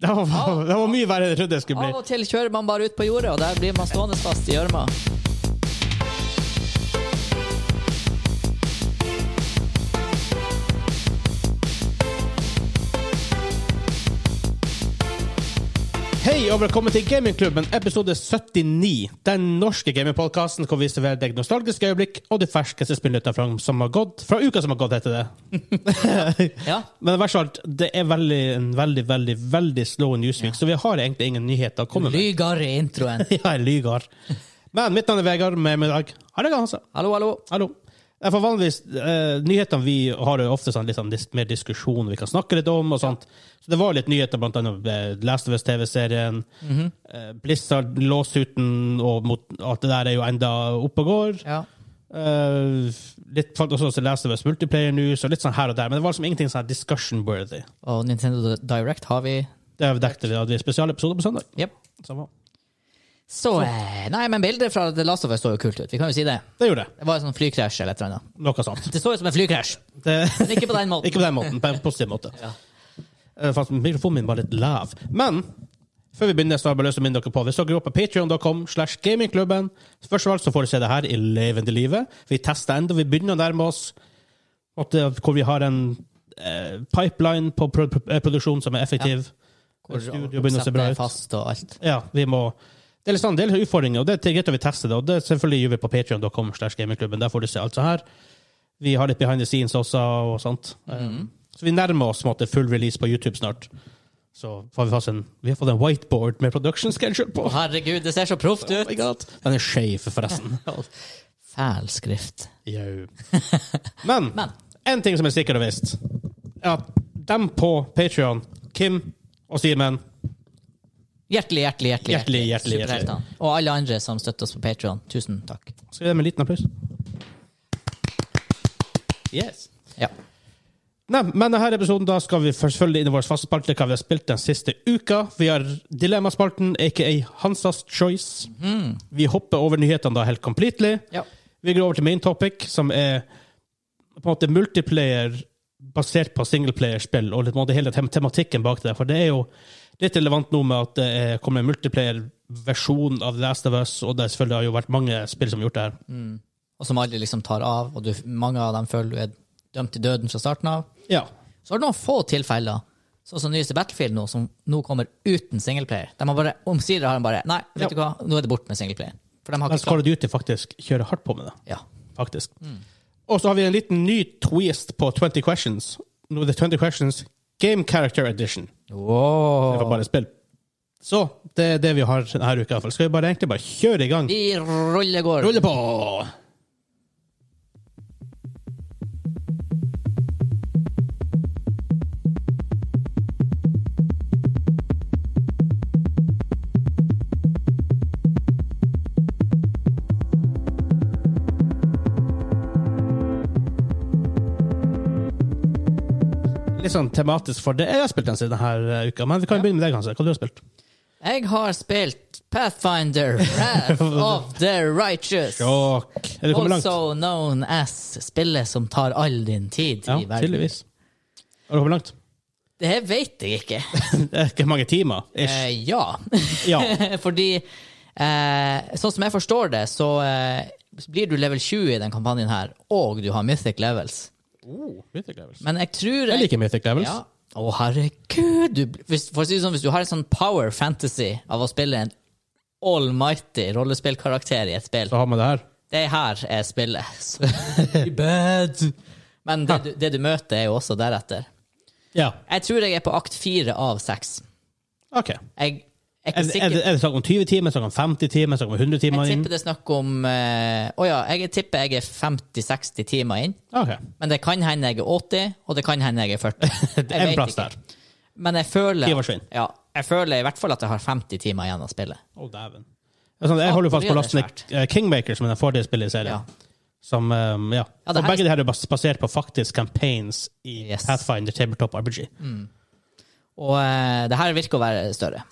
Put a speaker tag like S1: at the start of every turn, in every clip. S1: Det var, det var mye verre enn jeg trodde det skulle
S2: Av
S1: bli.
S2: og til kjører man bare ut på jordet, og der blir man stående fast i gjørma.
S1: Hei og velkommen til Gamingklubben, episode 79. Den norske gamingpodkasten hvor vi serverer deg nostalgiske øyeblikk og de ferskeste spillnytta fra, som har gått- fra uka som har gått, heter det.
S2: Ja.
S1: Men verst av alt, det er veldig, en veldig, veldig veldig slow newsweek, så vi har egentlig ingen nyheter å komme med.
S2: Lygar i introen.
S1: Ja, jeg lyver. Men mitt navn er Vegard, med meg i dag har jeg Hansa.
S2: Hallo, hallo.
S1: Hallo. Ja, For vanligvis, eh, Nyhetene vi har, er jo ofte sånn, litt sånn dis mer diskusjon vi kan snakke litt om. og sånt. Så Det var litt nyheter, blant annet eh, Last of Us-TV-serien. eh, Blizzard, Lawsuiten og mot, alt det der er jo enda oppe og går.
S2: Ja.
S1: Eh, litt falt også til Last of Us Multiplayer News og litt sånn her og der. Men det var liksom ingenting sånn discussion-worthy.
S2: Og Nintendo Direct har vi.
S1: Det har vi dekket vi hadde en spesialepisode på søndag.
S2: Jep.
S1: Samme.
S2: Så eh, Nei, men bildet fra The Last of Us så jo kult ut. Vi kan jo si det.
S1: Det gjorde det.
S2: Det var en sånn flykrasj eller et eller annet.
S1: Noe sånt.
S2: Det så ut som en flykrasj,
S1: Det...
S2: men ikke på den måten.
S1: Ikke på den måten, på en positiv måte.
S2: Ja.
S1: Eh, Fast mikrofonen min var litt lav. Men før vi begynner, så har jeg bare lyst til å minne dere på hvis dere går på patreon.com slash gamingklubben, først og fremst så får dere se det her i levende livet. Vi tester enda, vi begynner å nærme oss måtte, hvor vi har en eh, pipeline på pro pro- eh, produksjon som er effektiv.
S2: Hvor
S1: Studio begynner å se bra ut.
S2: konseptet er Fast og alt.
S1: Ja, vi må... Det er litt sånn, det er litt utfordringer, og det er greit at vi tester det. Og det selvfølgelig gjør vi på patreon.com slash gamingklubben. Der får du se alt sånn her. Vi har litt behind the scenes også og sånt.
S2: Mhm.
S1: Eh, Så vi nærmer oss på en måte, full release på YouTube snart. Så får vi, fast en, vi har fått en whiteboard med production schedule på.
S2: Å, herregud, det ser så proft
S1: Oh
S2: ut!
S1: my god. Den er skeiv, forresten.
S2: Fæl skrift.
S1: Jau. Men
S2: Men.
S1: en ting som er sikkert og visst, er at dem på Patreon, Kim og Simen
S2: Hjertelig, hjertelig, hjertelig.
S1: Hjertelig, hjertelig, hjertelig.
S2: Superheltene. Og alle andre som støtter oss på Patreon. Tusen takk.
S1: Skal vi gi dem en liten applaus? Yes.
S2: Ja.
S1: Nei, men denne episoden da skal vi selvfølgelig inn i vår faste spalte, hva vi har spilt den siste uka. Vi har Dilemmaspalten, aka Hansas Choice. Vi hopper over nyhetene da helt completely.
S2: Ja.
S1: Vi går over til main topic, som er på en måte multiplayer basert på singleplayerspill, og litt på en måte hele tem tematikken bak det. For det er jo litt relevant nå med at det er- kommer en multiplayer-versjon av Last of Us, og det er selvfølgelig har jo vært mange spill som har gjort det her.
S2: Og som aldri liksom tar av, og du, mange av dem føler du er dømt til døden fra starten av.
S1: Ja.
S2: Så har du noen få tilfeller, sånn som nyeste Battlefield nå, som nå kommer uten singleplayer. De har bare, Omsider har de bare Nei,
S1: Ja.
S2: vet du hva, nå er det bort med singleplayer. For de har
S1: Men
S2: ikke klart
S1: Call of Duty faktisk kjører hardt på med det.
S2: Ja.
S1: faktisk. Og så har vi en liten ny twist på 20 Questions. Nå er det 20 Questions Game Character Edition. Det var
S2: Wow.
S1: bare et spill. Så det er det vi har denne uka. i hvert fall. Skal vi bare egentlig bare kjøre i gang?
S2: Vi ruller går.
S1: Rulle på! Litt sånn tematisk for det jeg har spilt den siden denne uka. Men vi kan jo begynne med deg, Hanse. Hva du har spilt?
S2: Jeg har spilt Pathfinder Wrath of the Righteous.
S1: Sjokk. Er du kommet langt?
S2: Also known as spillet som tar all din tid
S1: Ja,
S2: i verden.
S1: tydeligvis. Har du kommet langt?
S2: Det her vet jeg ikke.
S1: Det er ikke mange timer. Ish.
S2: Eh, ja.
S1: Ja.
S2: Fordi eh, sånn som jeg forstår det, så eh, blir du level 20 i den kampanjen her, og du har Mythic levels.
S1: Oh, Mythic Levels.
S2: Men jeg tror
S1: Jeg liker Mythic Levels.
S2: Ja. Å, herregud! Du, bl- hvis, for å si det sånn, hvis du har en sånn power fantasy av å spille en almighty rollespillkarakter i et spill
S1: Så har man det her.
S2: Det her er spillet. Så- Bad. Men det du, det du møter, er jo også deretter.
S1: Ja.
S2: Jeg tror jeg er på akt fire av seks.
S1: OK.
S2: Jeg er ikke
S1: Er, er,
S2: sikker.
S1: det, er det snakk om 20 timer, snakk om 50 timer, snakk om 100 timer
S2: Jeg
S1: inn?
S2: tipper det er snakk om eh, Å ja, jeg tipper jeg er 50-60 timer inn.
S1: OK.
S2: Men det kan hende jeg er 80, og det kan hende jeg er 40. Jeg
S1: Det er en
S2: vet
S1: plass
S2: ikke.
S1: der.
S2: Men jeg føler,
S1: Ti år siden.
S2: ja, jeg føler i hvert fall at jeg har 50 timer igjen av spillet.
S1: Å, dæven. Det er sånn, Jeg holder jo fast på
S2: Ah, det er
S1: lasten
S2: svært.
S1: eh, Kingmaker, som er den forrige spillet i
S2: Ja.
S1: serien. Som, eh, ja.
S2: Ja, det
S1: Og
S2: her-
S1: begge de her er bas- basert på faktisk campaigns i
S2: Yes. Mm.
S1: Pathfinder Tabletop RPG.
S2: Og eh, det her virker å være større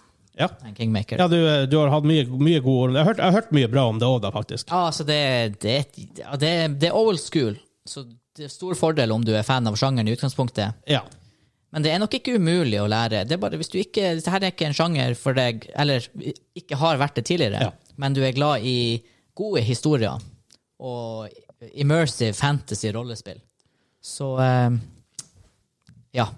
S1: Ja,
S2: enn Kingmaker.
S1: ja du, eh, du har hatt mye, mye gode ord. Jeg har hørt, jeg har hørt mye bra om det òg, da, faktisk.
S2: Ja, altså det, det, er et- ja, det, er- det er old school, så det er stor fordel om du er fan av sjangeren i utgangspunktet.
S1: Ja.
S2: Men det er nok ikke umulig å lære. Det er bare hvis du ikke, Dette her er ikke en sjanger for deg, eller ikke har vært det tidligere,
S1: Ja.
S2: men du er glad i gode historier og immersive fantasy-rollespill, så eh, ja.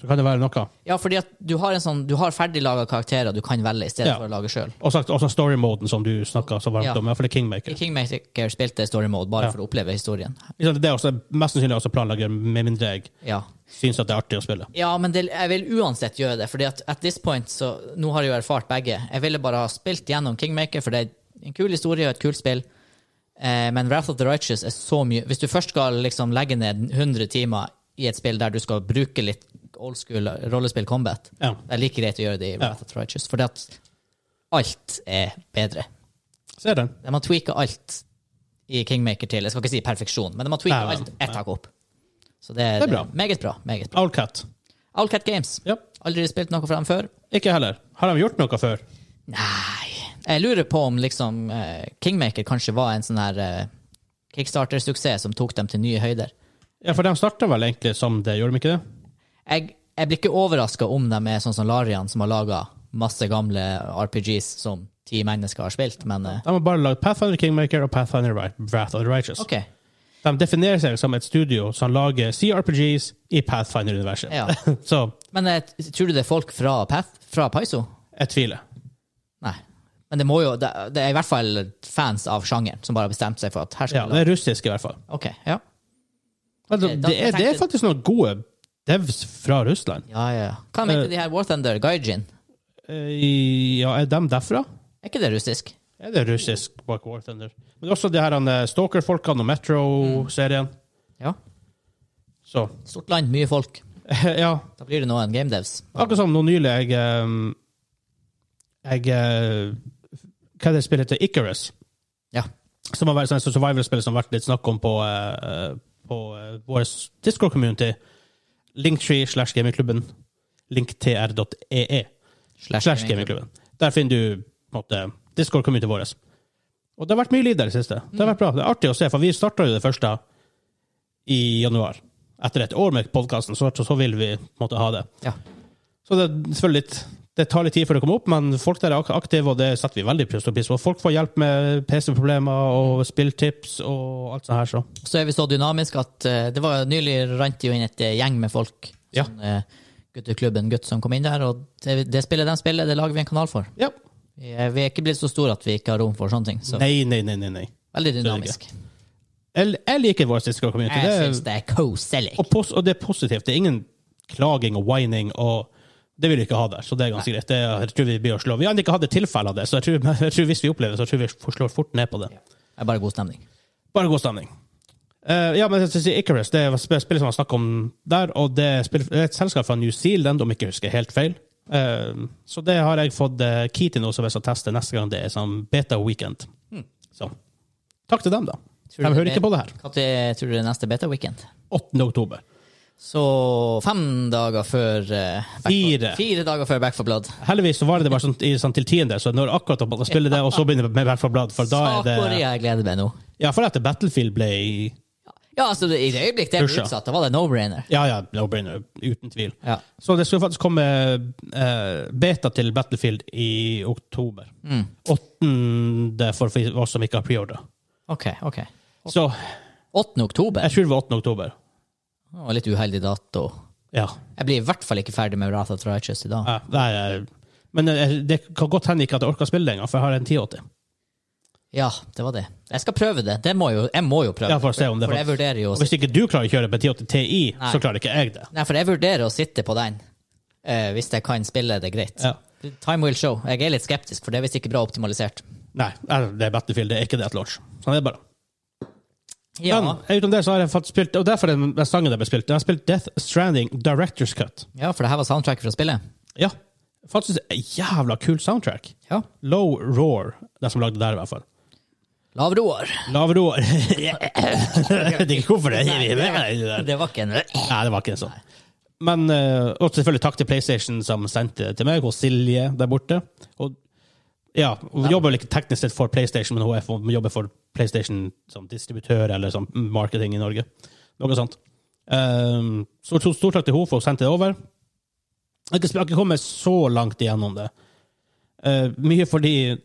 S1: Så kan det være noe.
S2: ja. Fordi at du har, en sånn, du har ferdiglaga karakterer du kan velge, i stedet
S1: Ja.
S2: for å lage sjøl.
S1: Og sagt, også story-moden som du snakka så varmt
S2: Ja.
S1: om. I hvert fall i
S2: I
S1: Kingmaker.
S2: Kingmaker spilte jeg story mode bare
S1: Ja.
S2: for å oppleve historien.
S1: Ikke sant, Det er også, mest sannsynlig også planlegger, med mindre jeg
S2: Ja.
S1: syns at det er artig å spille.
S2: Ja, men det, jeg vil uansett gjøre det, fordi at at this point, så nå har jeg jo erfart begge. Jeg ville bare ha spilt gjennom Kingmaker, for det er en kul historie og et kult spill. Eh, men Wrath of the Righteous er så mye Hvis du først skal liksom legge ned 100 timer i et spill der du skal bruke litt old school rollespill combat,
S1: Ja.
S2: det er like greit å gjøre det i Wrath of the Righteous, fordi at alt er bedre.
S1: Ser den.
S2: De har tweaka alt i Kingmaker til. Jeg skal ikke si perfeksjon, men de har tweaka
S1: Nei, nei,
S2: alt ett hakk opp. Så det,
S1: Det er bra.
S2: Meget bra. meget bra.
S1: Owlcat.
S2: Allcat Games.
S1: Ja.
S2: Aldri spilt noe fra dem før?
S1: Ikke heller. Har de gjort noe før?
S2: Nei Jeg lurer på om liksom eh, Kingmaker kanskje var en sånn her eh, kickstarter-suksess som tok dem til nye høyder.
S1: Ja, for de starta vel egentlig som det, gjorde de ikke det?
S2: Jeg, jeg blir ikke overraska om de er sånn som Larian, som har laga masse gamle RPGs som ti mennesker har spilt, men eh,
S1: De har bare lagd Pathfinder Kingmaker og Pathfinder Ri- Wrath of the Righteous.
S2: OK.
S1: De definerer seg som et studio som lager CRPGs i Pathfinder-universet.
S2: Ja.
S1: Så
S2: Men eh, tror du det er folk fra Path? Fra Paizo?
S1: jeg tviler.
S2: Nei. Men det må jo det, det er i hvert fall fans av sjangeren som bare har bestemt seg for at her
S1: Ja,
S2: skal vi
S1: det er russisk, i hvert fall.
S2: lage- OK. Ja.
S1: Men
S2: Ok,
S1: det,
S2: da-
S1: det, er, det er
S2: tenkte-
S1: faktisk noen gode devs fra Russland.
S2: ja, ja, Eh. ja. Hva med de her War Thunder, Gaijin?
S1: Eh, Ja, er de derfra?
S2: Er ikke det russisk?
S1: Er det russisk bak War Thunder? Men også de her eh, Stalker-folkene og Metro-serien.
S2: Ja.
S1: Så
S2: Stort land, mye folk.
S1: ja.
S2: Da blir det noen game devs.
S1: Akkurat som nå nylig jeg eh, Jeg eh, Hva er det spillet heter? Icarus.
S2: Ja.
S1: Som har vært sånn survival-spill som har vært litt snakk om på, eh, på eh, vår Discord-community. Linktree slash gamingklubben. Linktr.ee. Slash Gamingklubben. Der finner du på en måte, Discord-communityen vår. Og det har vært mye liv der i det siste. Det har vært bra. Det er artig å se, for vi starta jo det første i januar. Etter et år med podkasten, så, så vil vi på en måte ha det.
S2: Ja.
S1: Så det, er selvfølgelig litt, det tar litt tid før det kommer opp, men folk der er ak- aktive, og det setter vi veldig pris på. pris på. Folk får hjelp med PC-problemer og spilltips og alt sånt her. Så.
S2: Så er vi så dynamiske at eh, det var nylig rant jo inn et eh, gjeng med folk.
S1: Ja.
S2: Sånn, eh, gutteklubben Gutt som kom inn der, og det, det spillet de spiller, det lager vi en kanal for.
S1: Ja.
S2: Vi er, vi er ikke blitt så store at vi ikke har rom for sånne ting. Så
S1: Nei, nei, nei. nei, nei.
S2: veldig dynamisk.
S1: Jeg, jeg liker vår Discord-community.
S2: Jeg
S1: Det er-
S2: syns det er koselig.
S1: Og, pos og det er positivt. Det er ingen klaging og whining. og det vil vi ikke ha der, så det er ganske greit. Det, er- jeg tror Vi blir å slå. Vi har ikke hatt et tilfelle av det, så jeg tror, men jeg tror hvis vi opplever det, så tror jeg vi slår fort ned på det.
S2: Det er bare god stemning.
S1: Bare god stemning. Eh, ja, men jeg synes Icarus det er sp- spillet som jeg snakket om der, og det er spill- det er et selskap fra New Zealand, om jeg ikke husker helt feil. Eh, så det har jeg fått eh, key til nå, som jeg skal teste neste gang det er sånn beta weekend. Så takk til dem, da.
S2: Hmm. Tror du
S1: de
S2: det
S1: hører
S2: er-
S1: ikke på det her.
S2: Når tror du det er neste beta-weekend?
S1: 8. oktober.
S2: Så fem dager før eh, Back for-
S1: Fire.
S2: Fire dager før Back for Blood.
S1: Heldigvis så var det bare sånn, i, sånn til tiende, så når akkurat å spille det, og så begynner det med Back 4 Blood, for da er det
S2: Korea, jeg gleder meg nå.
S1: Ja, for etter Battlefield ble
S2: Ja, altså det- i det øyeblikk det ble
S1: Pusha.
S2: utsatt, da var det no-brainer.
S1: Ja, ja, no-brainer, uten tvil.
S2: Ja.
S1: Så det skulle faktisk komme eh, beta til Battlefield i oktober. Åttende for oss som ikke har preordra.
S2: Ok, ok.
S1: Så
S2: 8. oktober.
S1: jeg tror det var 8. oktober.
S2: Å, litt uheldig dato.
S1: Ja.
S2: Jeg blir i hvert fall ikke ferdig med Wrath of the Righteous i dag.
S1: ja nei, jeg- men jeg- det kan godt hende ikke at jeg orker å spille det engang, for jeg har en 1080.
S2: Ja, det var det. Jeg skal prøve det. det må jo, jeg må jo prøve
S1: Ja, for å se om det
S2: For jeg
S1: faktisk-
S2: vurderer jo å
S1: Og hvis ikke du klarer å kjøre på 1080 Ti,
S2: Nei.
S1: så klarer ikke jeg det.
S2: Nei, for jeg vurderer å sitte på den eh, hvis jeg kan spille det greit.
S1: Ja.
S2: Time will show. Jeg er litt skeptisk, for det er visst ikke bra optimalisert.
S1: Nei, det er Battlefield, det er ikke det at launch. Sånn er det bare.
S2: Ja.
S1: Men utenom det så har jeg faktisk spilt, og derfor er den den sangen jeg ble spilt, jeg har spilt Death Stranding Director's Cut.
S2: ja, for det her var soundtracket fra spillet.
S1: Ja, faktisk en jævla kul soundtrack.
S2: Ja.
S1: Low Roar, den som lagde det der i hvert fall.
S2: Lavroar.
S1: Lav Roar. jeg vet ikke hvorfor det er Nei,
S2: Det var ikke en
S1: det var ikke en sånn. Men, eh, og selvfølgelig takk til PlayStation som sendte det til meg, og Silje der borte. Og ja, hun jobber vel ikke teknisk sett for PlayStation, men hun er for- hun jobber for PlayStation som distributør eller som Ehm, marketing i Norge. Noe sånt. Um, så to- stor takk til henne for å sende det over. Jeg har ikke sp- jeg har ikke kommet så langt igjennom det. Eh, mye fordi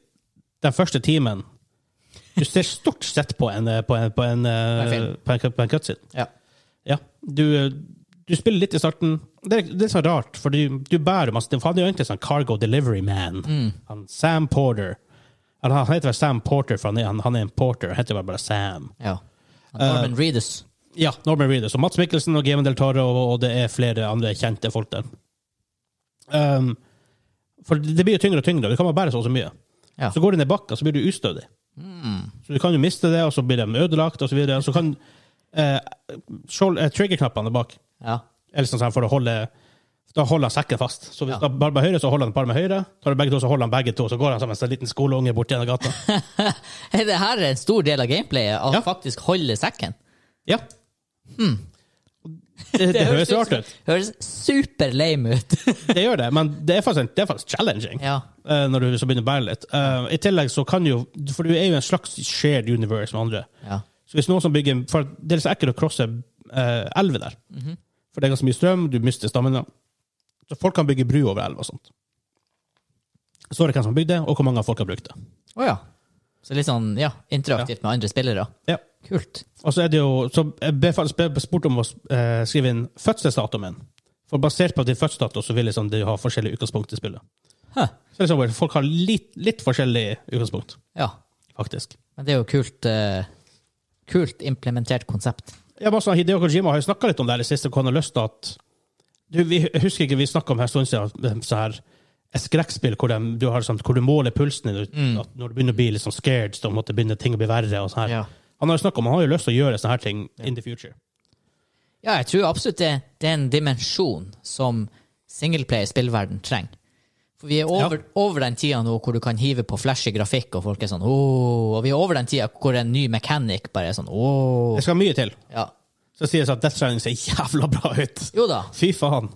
S1: den første timen Du ser stort sett på en, eh, på en, på en, eh,
S2: På en film.
S1: på en, cut- på en cutscene.
S2: Ja.
S1: Ja. Du, eh, du spiller litt i starten. Det er, det er så rart, for du, du bærer masse For Han er jo egentlig sånn cargo delivery man. Han, Sam Porter. Han, han heter vel Sam Porter, for han er, han, han er en porter. Han heter vel bare Sam.
S2: ja. Norman
S1: Eh,
S2: Reedus.
S1: Ja, Norman Reedus. Og Mats Mikkelsen og Gevendel Tore, og, og det er flere andre kjente folk der. Um, for det blir jo tyngre og tyngre, og du kan bare bære så og så mye.
S2: Ja.
S1: Så går du ned bakka, så blir du ustødig. Så du kan jo miste det, og så blir de ødelagt, og så videre. Så kan eh, skjold- eh, triggerknappene bak,
S2: Ja.
S1: eller sånn sånn for å holde da holder han sekken fast. Så hvis da
S2: Ja.
S1: bare med høyre, så holder han et par med høyre. Tar du begge to, så holder han begge to. Så går han som en sånn liten skoleunge bort gjennom gata.
S2: Hey, det her er en stor del av gameplayet, å
S1: Ja.
S2: faktisk holde sekken.
S1: Ja. Det, det høres
S2: ut
S1: rart
S2: som-
S1: ut.
S2: Høres super lame ut.
S1: Det gjør det, men det er faktisk, en- det er faktisk challenging.
S2: ja.
S1: eh, når du så begynner å bære litt. Eh, I tillegg så kan jo For du er jo en slags shared universe med andre.
S2: ja.
S1: Så hvis noen som bygger For det er litt så ekkelt å crosse eh, elver der. For det er ganske mye strøm, du mister stamina. Så folk kan bygge bru over elva og sånt. Så er det hvem som har bygd det, og hvor mange av folk har brukt det.
S2: Å ja. Så litt sånn ja, interaktivt med andre spillere.
S1: Ja.
S2: Kult.
S1: Og så er det jo Så jeg ble faktisk ble spurt om å eh, skrive inn fødselsdatoen min. For basert på din fødselsdato så vil liksom de ha forskjellige utgangspunkt i spillet.
S2: Huh.
S1: Så liksom, folk har litt, litt forskjellig utgangspunkt,
S2: Ja.
S1: faktisk.
S2: Men det er jo kult eh, Kult implementert konsept.
S1: Ja, bare sånn, Hideo Kojima har jo snakka litt om det her i det siste, hvor han har lyst til at du, vi, Jeg husker ikke, vi snakka om her en stund siden, så her, et skrekkspill hvor, de, du har, sånn, hvor du måler pulsen din.
S2: Mm.
S1: At når du begynner å bli litt sånn scared, så måtte begynner ting å bli verre. og sånn her.
S2: Ja.
S1: Han har jo snakket om, han har jo lyst til å gjøre sånne her ting in the future.
S2: Ja, jeg tror absolutt det, det er en dimensjon som singleplayer-spillverden trenger. For vi er over, over den tida nå hvor du kan hive på flashy grafikk, og folk er sånn åh, Og vi er over den tida hvor en ny mechanic bare er sånn åh.
S1: Det skal mye til.
S2: Ja.
S1: Så sies det at Death Stranding ser jævla bra ut.
S2: Jo da.
S1: Fy faen.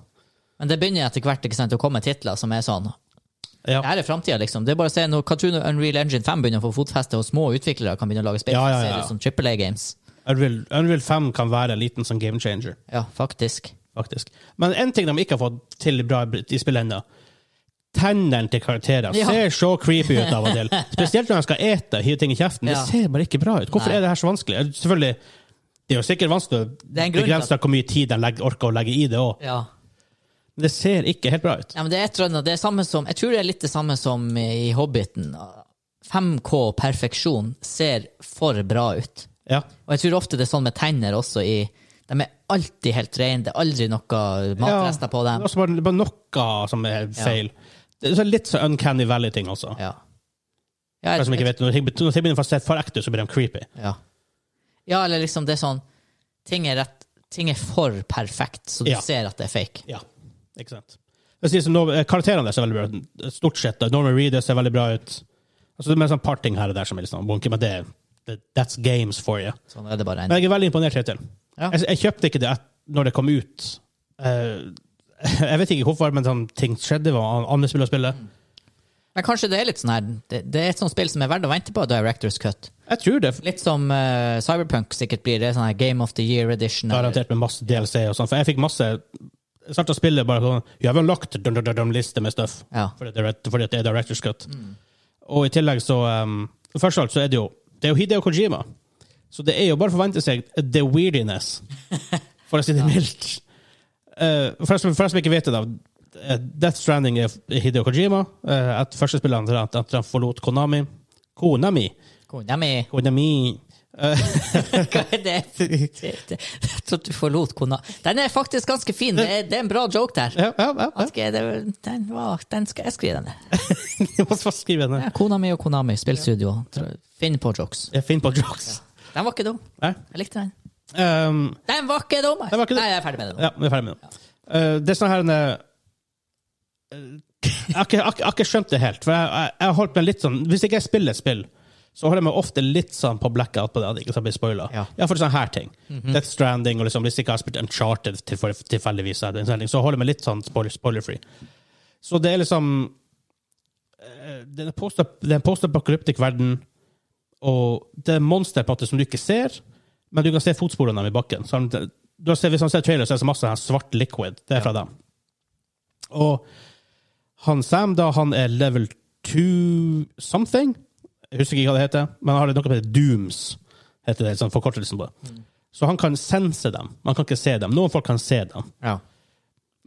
S2: Men det begynner etter hvert ikke sant, å komme titler som er sånn
S1: Ja.
S2: Det her er framtida, liksom. Det er bare å se når Katun og Unreal Engine 5 begynner å få fotfeste, og små utviklere kan begynne å lage spill,
S1: Ja,
S2: så
S1: ja, ja,
S2: ser
S1: ja.
S2: det ut som Triple A-games.
S1: Unreal, Unreal 5 kan være en liten sånn game changer.
S2: Ja, faktisk.
S1: faktisk. Men en ting de ikke har fått til bra i spillet ennå, tennene til karakterer
S2: Ja.
S1: ser så creepy ut av og til. Spesielt når de skal ete, hive ting i kjeften.
S2: Ja.
S1: Det ser bare ikke bra ut. Hvorfor
S2: Nei.
S1: er det her så vanskelig? Selvfølgelig, det er jo sikkert vanskelig å
S2: Det er en grunn til
S1: begrense hvor mye tid de legger, orker å legge i det òg,
S2: Ja.
S1: men det ser ikke helt bra ut.
S2: Ja, men det er et eller annet. Det er samme som, jeg tror det er litt det samme som i Hobbiten. 5K perfeksjon ser for bra ut.
S1: Ja.
S2: Og jeg tror ofte det er sånn med tenner også. I, de er alltid helt rene. Det er aldri noe matrester på
S1: Det er
S2: dem.
S1: også bare, bare noe som er feil. Det er så litt så uncanny valley-ting, altså.
S2: Ja. Ja,
S1: For
S2: jeg-
S1: som ikke vet, når ting når ting begynner å se for ekte ut, så blir de creepy.
S2: ja. ja, eller liksom det er sånn Ting er, rett, ting er for perfekt, så du
S1: Ja.
S2: ser at det er fake.
S1: Ja, ikke sant. Jeg sier, så nå, eh, karakterene deres ser veldig bra ut. Stort sett. da. Norman Reedus ser veldig bra ut. Altså, det er mer sånn parting her og der som er litt sånn wonky, men det, det, that's games for you.
S2: Sånn er det bare. En.
S1: Men jeg er veldig imponert hittil.
S2: Ja.
S1: Jeg, jeg kjøpte ikke det et, når det kom ut. Eh, jeg vet ikke hvorfor, men sånn ting skjedde. Det var andre spill å spille.
S2: Men kanskje det er litt sånn her Det, det er et sånt spill som er verdt å vente på, Directors Cut.
S1: Jeg tror det.
S2: Litt som eh, Cyberpunk sikkert blir. Det er sånn her Game of the Year edition. eller-
S1: Garantert med masse DLC og sånn. For jeg fikk masse Jeg starta spillet bare sånn Jeg har vel lagt dum, dum, dum, dum, liste med stuff.
S2: Ja.
S1: fordi det, er- fordi at det er director's cut. Og i tillegg så um, Først av alt så er det jo Det er jo Hideo Kojima. Så det er jo bare å forvente seg the weirdiness, for å si det mildt. Eh, for, jeg som, for jeg som ikke vet det, da. eh, Death Stranding er Hideo Kojima. Uh, at førstespilleren til han- at han forlot Konami. Konami!
S2: Kona mi
S1: Konami.
S2: Hva er det? Jeg trodde du forlot kona Den er faktisk ganske fin. Det er, det er en bra joke der.
S1: Ja, ja, ja.
S2: At ikke det- Den, var, den skal jeg skrive. den ned.
S1: Jeg må bare skrive det ned.
S2: Ja, Kona mi og kona mi, spillstudio. Tror- Finn på jokes.
S1: Jeg finner på jokes.
S2: Den var ikke dum.
S1: Nei.
S2: Jeg likte den.
S1: Um,
S2: Den var ikke dum!
S1: Den var ikke dum.
S2: altså. Nei, jeg er ferdig med det nå.
S1: ja, vi er ferdig med det. Uh, det er sånn her en, uh, jeg, har ikke- jeg, har ikke- jeg har ikke skjønt det helt. For jeg, jeg, jeg har holdt meg litt sånn, Hvis ikke jeg spiller et spill, så holder jeg meg ofte litt sånn på blackout på det. at jeg ikke skal bli spoila.
S2: Ja.
S1: for sånne her ting. Death Stranding, og liksom, hvis ikke jeg har spilt Uncharted tilf- tilfeldigvis, så er det en sånn ting, så holder jeg meg litt sånn spoiler- spoiler-free. så det er liksom eh, Det er en post- det er en post-apokalyptisk verden, og det er monster på en måte som du ikke ser, men du kan se Sånn, fotsporene dem i bakken. Så han, du har sett, hvis man ser trailer, så er det så masse her svart liquid. Det er fra dem. Og han Sam, da, han er level 2 something. Jeg husker ikke hva det heter, men han har noe som heter Dooms. heter det, sånn forkortelsen på det. Så han kan sense dem. Man kan ikke se dem. Noen folk kan se dem.
S2: Ja.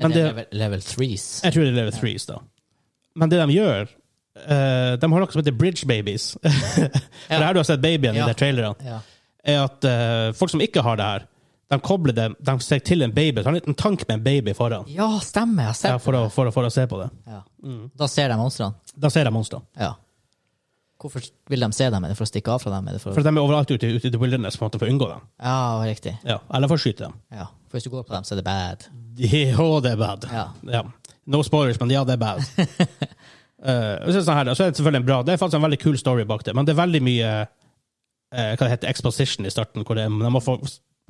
S1: Men
S2: Er det
S1: det-
S2: level, level threes?
S1: Jeg tror det er level 3s, da. Men det de gjør eh, De har noe som heter Bridge Babies. For det her du har sett babyen
S2: Ja.
S1: i de trailerne.
S2: Ja.
S1: er at eh, folk som ikke har det her, de kobler dem, de ser til en baby. Så har en liten tank med en baby foran
S2: ja, stemmer. Jeg har
S1: ja,
S2: sett
S1: for, Mm. å, for, å, for å se på det.
S2: Ja. Da ser de monstrene.
S1: Da ser de monstrene.
S2: Ja. Hvorfor vil de se dem? Er det for å stikke av fra dem? Er det for...
S1: For de er overalt ute, ute i the wilderness for, en måte, for å unngå dem.
S2: Ja, riktig.
S1: Ja, eller for å skyte dem.
S2: Ja. For hvis du går på dem, så er det bad.
S1: Ja, det er bad.
S2: Ja.
S1: No spoilers, men ja, det er bad. Eh, og så, er det sånn her, da, så er det selvfølgelig en bra Det er faktisk en veldig kul story bak det, men det er veldig mye eh, Hva det heter exposition i starten. Hvor det, de må få,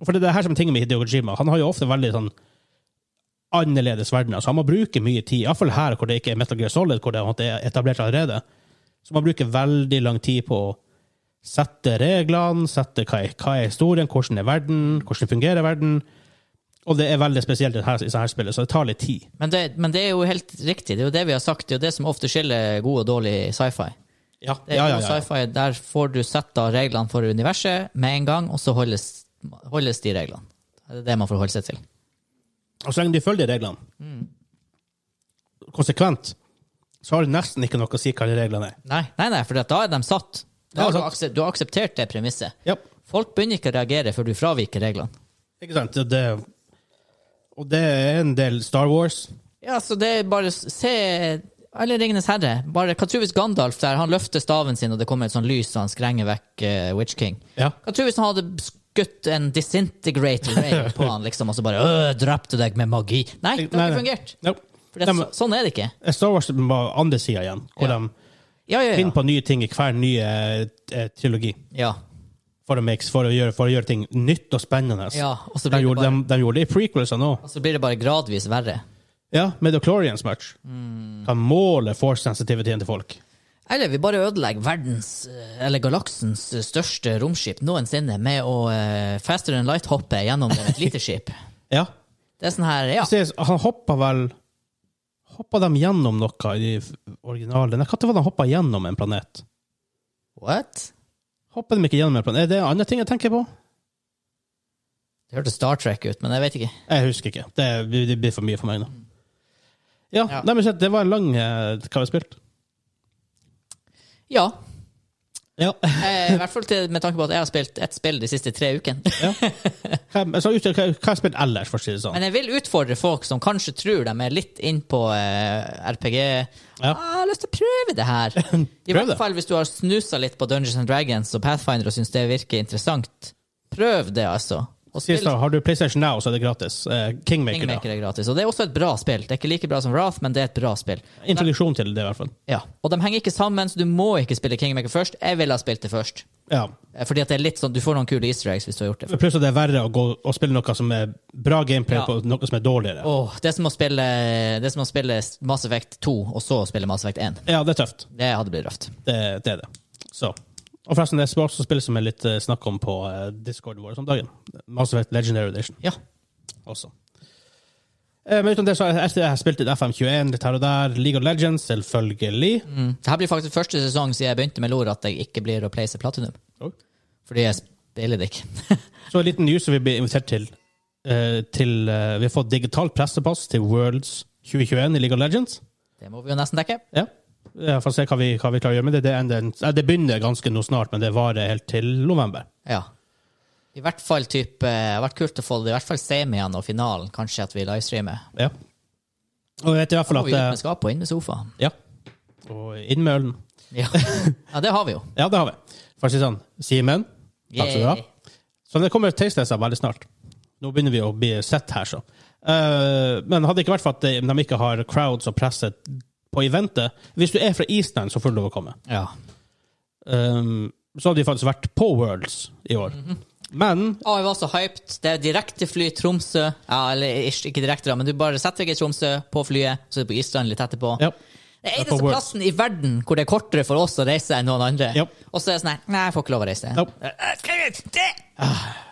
S1: for det er det her som er tingen med Hideo Kojima. Han har jo ofte veldig sånn annerledes verdener, så han må bruke mye tid. Iallfall her, hvor det ikke er Metal Gear Solid, hvor det på en måte er etablert allerede. Så man bruker veldig lang tid på å sette reglene, sette hva er, hva er historien, hvordan er verden, hvordan fungerer verden. Og det er veldig spesielt i det her, i sånne her spillet, så det tar litt tid.
S2: Men det, men det er jo helt riktig. Det er jo det vi har sagt. Det er jo det som ofte skiller god og dårlig sci-fi.
S1: Ja,
S2: Det er
S1: ja, ja,
S2: god
S1: ja.
S2: sci-fi, Der får du sett av reglene for universet med en gang, og så holdes, holdes de reglene. Det er det man forholder seg til.
S1: Og så lenge de følger de reglene konsekvent, så har det nesten ikke noe å si hva de reglene er.
S2: Nei, nei, nei for at da er de satt.
S1: Ja,
S2: Da har du,
S1: sant.
S2: aksep- du har akseptert det premisset.
S1: Ja,
S2: Folk begynner ikke å reagere før du fraviker reglene.
S1: ikke sant? Det, og det er en del Star Wars.
S2: Ja, så det er bare s- Se alle Ringenes herre. Bare, hva tror du hvis Gandalf der, han løfter staven sin, og det kommer et sånn lys, og han skrenger vekk eh, Witch King?
S1: Ja.
S2: Hva tror du hvis han hadde skutt en disintegrator ray på han, liksom, og så bare øh, drepte deg med magi? Nei, det har ikke fungert.
S1: Ja.
S2: For det,
S1: Nei,
S2: er
S1: men
S2: så, sånn er det ikke.
S1: Star Wars var andre sida igjen, hvor
S2: Ja.
S1: de
S2: Ja, ja,
S1: finner
S2: ja.
S1: på nye ting i hver nye eh, trilogi
S2: ja.
S1: for å, mix, for, å gjøre, for å gjøre ting nytt og spennende.
S2: ja. Og, så
S1: De,
S2: blir det
S1: gjorde,
S2: bare,
S1: de, de gjorde det i prequelsene òg.
S2: og så Altså, blir det bare gradvis verre.
S1: Ja, Medoclorians match. Kan måle force-sensitiviteten til folk.
S2: Eller vi bare ødelegger verdens, eh, eller galaksens eh, største romskip noensinne med å eh, faster than light-hoppe gjennom et lite skip.
S1: Ja.
S2: Det er sånn her, ja.
S1: Se, han hoppa vel Hoppa de gjennom noe i de f- originale Når var det han hoppa gjennom en planet?
S2: What?
S1: Hoppa de ikke gjennom en planet? Er det en annen ting jeg tenker på?
S2: Det hørtes Star Trek ut, men jeg vet ikke.
S1: Jeg husker ikke. Det, det blir for mye for meg nå. Ja,
S2: Ja.
S1: Nei, men se, det var en lang eh, Hva vi spilte.
S2: Ja.
S1: Ja.
S2: Eh, I hvert fall til, med tanke på at jeg har spilt ett spill de siste tre ukene.
S1: Hva, altså, ut- hva, hva har jeg spilt ellers, for å si det sånn?
S2: Men jeg vil utfordre folk som kanskje tror de er litt innpå eh, RPG.
S1: Ja.
S2: Ah, jeg har lyst til å prøve det her. I
S1: Prøv
S2: hvert
S1: det.
S2: fall hvis du har snusa litt på Dungeons and Dragons og Pathfinder og syns det virker interessant. Prøv det, altså. Og
S1: Sies da, Har du PlayStation Now, så er det gratis. Eh, Kingmaker,
S2: Kingmaker er gratis. Og det er også et bra spill. Det er ikke like bra som Wrath, men det er et bra spill.
S1: da. Introduksjon til det, i hvert fall.
S2: Ja. Og de henger ikke sammen, så du må ikke spille Kingmaker først. Jeg ville ha spilt det først.
S1: Ja.
S2: Eh, Fordi at det er litt sånn, Du får noen kule easter eggs hvis du har gjort det.
S1: Pluss at det er verre å, gå, å spille noe som er bra gameplay
S2: Ja.
S1: på noe som er dårligere.
S2: Åh, det, er som å spille, det er som å spille Mass Effect 2, og så spille Mass Effect 1.
S1: Ja, det er tøft.
S2: Det hadde blitt røft.
S1: Det, det er det. Så. Og forresten, det er også spill som er litt eh, snakk om på eh, Discord vår om dagen. Mass Effect Legendary Edition
S2: Ja.
S1: også. Eh, Men utenom det så har jeg, jeg har spilt litt FM21, litt her og der. League of Legends, selvfølgelig.
S2: Mm. Dette blir faktisk første sesong siden jeg begynte med LoR at jeg ikke blir å place platinum.
S1: Oi.
S2: Fordi jeg spiller det ikke.
S1: Så en liten news som vi blir invitert til. eh, til eh, vi har fått digitalt pressepass til Worlds 2021 i League of Legends.
S2: Det må vi jo nesten dekke.
S1: Ja. Jeg får se hva vi, hva vi klarer å gjøre med det. Det, ender, eh, det begynner ganske nå snart, men det varer helt til november.
S2: Ja. I hvert fall typ, eh, det har vært kult å få det, i hvert fall semien og finalen, kanskje at vi livestreamer.
S1: Ja. Og jeg vet i hvert
S2: Da
S1: fall
S2: må
S1: at
S2: vi ut
S1: eh,
S2: med skapet og inn med sofaen.
S1: Ja. Og inn med ølen.
S2: Ja. ja, det har vi jo.
S1: Ja, det har vi. For å si det sånn, Simen, takk skal du ha.
S2: Yay.
S1: Så det kommer tastelesser veldig snart. Nå begynner vi å bli sett her, så. Eh, men hadde ikke vært for at de, de ikke har crowds og presse på eventet Hvis du er fra Island, så får du lov å komme.
S2: Ja.
S1: Um, så hadde de faktisk vært på Worlds i år. Men
S2: Å, jeg var så hyped. Det er direktefly Tromsø. Ja, eller ish, ikke direkte, da, men du bare setter deg i Tromsø på flyet, så er du på Island litt etterpå.
S1: ja,
S2: Det er
S1: Det er
S2: eneste
S1: på Worlds.
S2: plassen i verden hvor det er kortere for oss å reise enn noen andre.
S1: Japp.
S2: Og så er det sånn her Nei, jeg får ikke lov å reise.
S1: Japp.
S2: Eh, eh, skriv ut! Det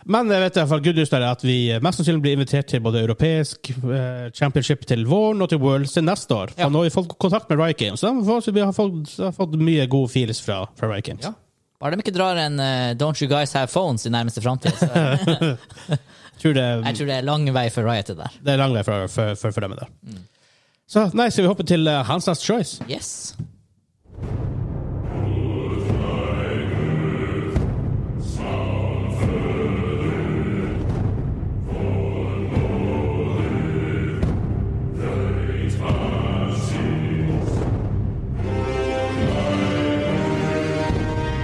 S1: Men jeg vet i hvert fall good news der er at vi mest sannsynlig blir invitert til både europeisk eh, championship til våren og til Worlds til neste år.
S2: Ja.
S1: Og nå har vi fått kontakt med Riot Games, så de får- så vi har fått, så har fått mye gode feels fra, fra Riot Games.
S2: Ja. Bare de ikke drar en eh, 'Don't you guys have phones' i nærmeste framtid. Jeg
S1: Tror det,
S2: tror det er lang vei for Riot til der.
S1: det er lang vei for, for, for, for dem. Der.
S2: Mm.
S1: Så nei, skal vi hoppe til eh, Hansas Choice?
S2: Yes.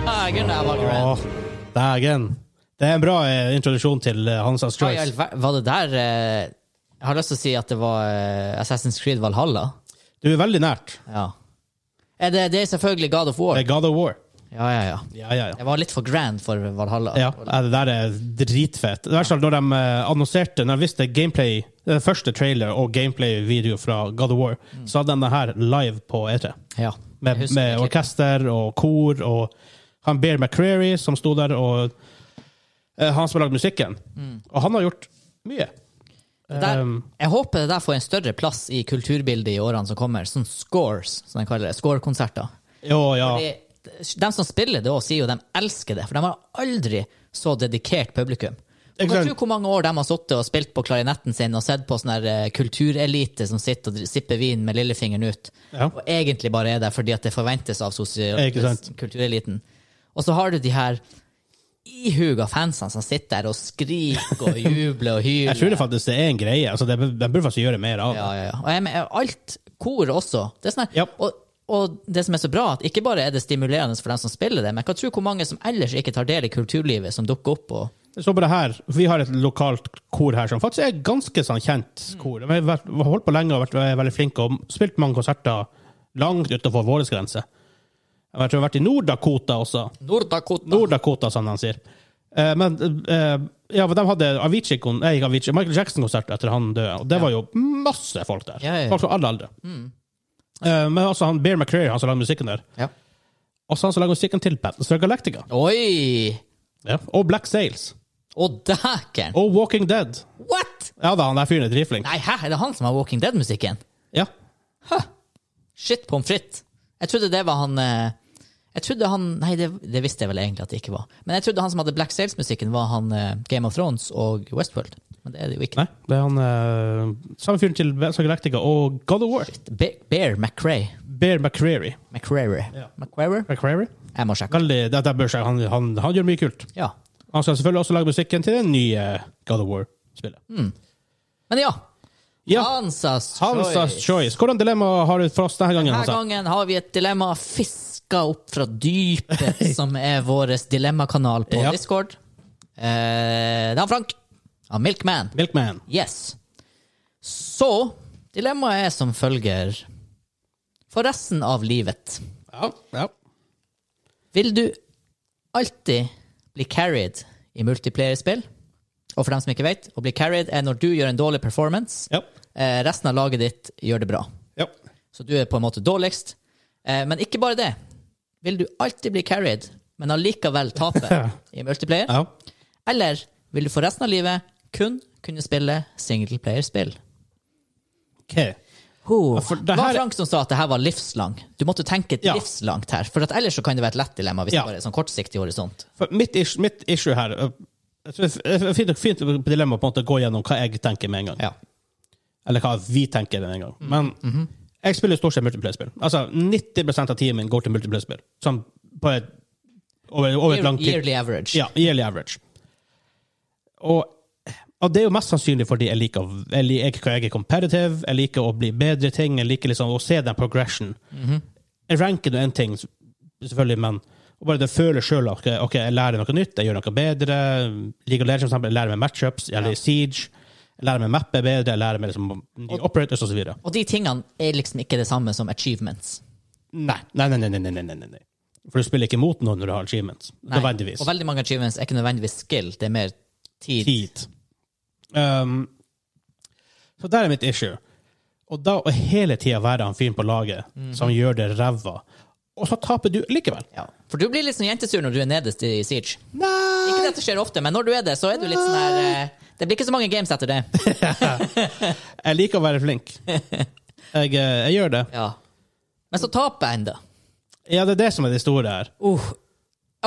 S2: Ah, Gunnar Valgren.
S1: Åh, dægen. Det er en bra eh, introduksjon til eh, Hansas
S2: Hva i all
S1: Choice.
S2: ver- Var det der eh, Jeg har lyst til å si at det var eh, Assassin's Creed Valhalla.
S1: Du er veldig nært.
S2: Ja. Er det, det er selvfølgelig God of War.
S1: Det er God of War.
S2: Ja, ja, ja.
S1: Ja, ja, ja.
S2: Det var litt for grand for Valhalla.
S1: Ja, ja, det der er dritfett. I hvert fall når de eh, annonserte, når de visste gameplay, den første trailer og gameplay-video fra God of War, så hadde de det her live på E3.
S2: Ja.
S1: Med,
S2: Mm. Jeg husker
S1: med
S2: det klippet.
S1: orkester og kor og han Bear McCreary som sto der, og eh, han som har lagd musikken.
S2: Mm.
S1: Og han har gjort mye.
S2: Det Der,
S1: Um,
S2: jeg håper det der får en større plass i kulturbildet i årene som kommer. Sånn scores, som de kaller det. Scorekonserter.
S1: Jo, ja.
S2: De, de som spiller det òg, sier jo de elsker det, for de har aldri så dedikert publikum. Du
S1: Ikke
S2: kan
S1: sant?
S2: tro hvor mange år de har sittet og spilt på klarinetten sin og sett på sånn her eh, kulturelite som sitter og dri- sipper vin med lillefingeren ut,
S1: Ja.
S2: og egentlig bare er der fordi at det forventes av sosial-
S1: Ikke sant?
S2: kultureliten. Og så har du de her ihuga fansene som sitter der og skriker og jubler og hyler.
S1: Jeg tror det faktisk det er en greie. Altså, det, de burde faktisk gjøre mer av det.
S2: Ja, ja, ja. Og jeg mener, alt kor også. Det er sånn, her-
S1: Ja.
S2: og, og det som er så bra, at ikke bare er det stimulerende for dem som spiller det, men jeg kan tro hvor mange som ellers ikke tar del i kulturlivet, som dukker opp og
S1: Så bare her, Vi har et lokalt kor her som faktisk er ganske sånn kjent
S2: Mm.
S1: kor. De har vært, holdt på lenge og vært er veldig flinke og spilt mange konserter langt utenfor våre grenser. Jeg tror jeg har vært i Nord-Dakota også.
S2: Nord-Dakota.
S1: Nord-Dakota, som de sier. Eh, men eh, ja, for de hadde Avicii, kon- nei, ikke Avicii, Michael Jackson-konsert etter han døde, og det var jo masse folk der.
S2: Ja, Mm. ja, ja.
S1: Folk fra alle aldre. Eh, men også han Bear McCreary, han som lagde musikken der.
S2: Ja.
S1: Også han som lagde musikken til Battlestar Galactica.
S2: Oi!
S1: Ja. Og Black Sails.
S2: Å, dæken!
S1: Og Walking Dead.
S2: What?!
S1: Ja da, han der fyren er drifling.
S2: Nei, hæ? Er det han som har Walking Dead-musikken?
S1: Ja.
S2: Shit pommes frites. Jeg trodde det var han eh, Jeg trodde han Nei, det, det visste jeg vel egentlig at det ikke var. Men jeg trodde han som hadde Black Sales-musikken, var han eh, Game of Thrones og Westworld. Men det er det jo ikke.
S1: Nei, det er han eh, samme fyren til Battlestar Galactica og God of War.
S2: Be- Bear McRae.
S1: Bear McCreary.
S2: McCrary.
S1: Ja.
S2: McCrary?
S1: McCreary?
S2: Jeg må sjekke.
S1: Veldig, det, det bør seg. Han, han, han gjør mye kult.
S2: Ja.
S1: Han skal selvfølgelig også lage musikken til det nye God of War-spillet.
S2: Men ja.
S1: Ja.
S2: Hansas
S1: Hansas choice. Hvordan dilemma har du for oss denne gangen?
S2: Denne
S1: Hansa?
S2: gangen har vi et dilemma fiska opp fra dypet, som er vår dilemmakanal på
S1: Ja.
S2: Discord. Eh, det er han Frank. Han Milkman.
S1: Milkman.
S2: Yes. Så dilemmaet er som følger. For resten av livet,
S1: Ja, ja.
S2: vil du alltid bli carried i multiplayerspill? Og for dem som ikke vet, å bli carried er når du gjør en dårlig performance.
S1: Ja.
S2: Eh, resten av laget ditt gjør det bra.
S1: ja.
S2: Så du er på en måte dårligst. Eh, men ikke bare det. Vil du alltid bli carried, men allikevel tape i multiplayer?
S1: ja.
S2: Eller vil du for resten av livet kun kunne spille singleplayerspill?
S1: OK.
S2: Oh.
S1: for det
S2: Det var
S1: her-
S2: Frank som sa at det her var livslang. Du måtte tenke
S1: Ja.
S2: livslangt her. For at ellers så kan det være et lett dilemma hvis
S1: Ja.
S2: det bare er sånn kortsiktig horisont.
S1: For mitt, issue, mitt issue her eh, jeg tror Det er fint, fint dilemma på en måte å gå gjennom hva jeg tenker med en gang.
S2: Ja.
S1: Eller hva vi tenker den en gang. Men jeg spiller stort sett multiplayer-spill. Altså, 90 av tiden min går til multiplayer-spill. Sånn på et, over, over et langt tid.
S2: Yearly average.
S1: Ja, yearly average. Og, og det er jo mest sannsynlig fordi jeg liker, å- jeg liker jeg er competitive, jeg liker å bli bedre i ting, jeg liker liksom å se den progression.
S2: Mhm.
S1: Jeg ranker nå én ting, selvfølgelig, men og bare det føler sjøl at ok, jeg lærer noe nytt, jeg gjør noe bedre. League of Legends, for eksempel, jeg lærer meg matchups, jeg lærer Siege, jeg lærer meg mappe bedre, jeg lærer meg liksom, nye operators osv.
S2: Og de tingene er liksom ikke det samme som achievements.
S1: Nei. Nei, nei, nei, nei, nei, nei, nei, nei. For du spiller ikke mot noen når du har achievements.
S2: Nei.
S1: Nødvendigvis.
S2: Og veldig mange achievements er ikke nødvendigvis skill, det er mer tid.
S1: tid. Um, så der er mitt issue. Og da å hele tida være han fyren på laget som gjør det ræva, og så taper du likevel.
S2: Mhm. Ja. For du blir litt sånn jentesur når du er nederst i Siege.
S1: Nei!
S2: Ikke at det skjer ofte, men når du er det, så er du litt sånn her eh, Det blir ikke så mange games etter det.
S1: Jeg liker å være flink. Jeg, eh, jeg gjør det.
S2: Ja. Men så taper jeg ennå.
S1: Ja, det er det som er det store her.
S2: Uh.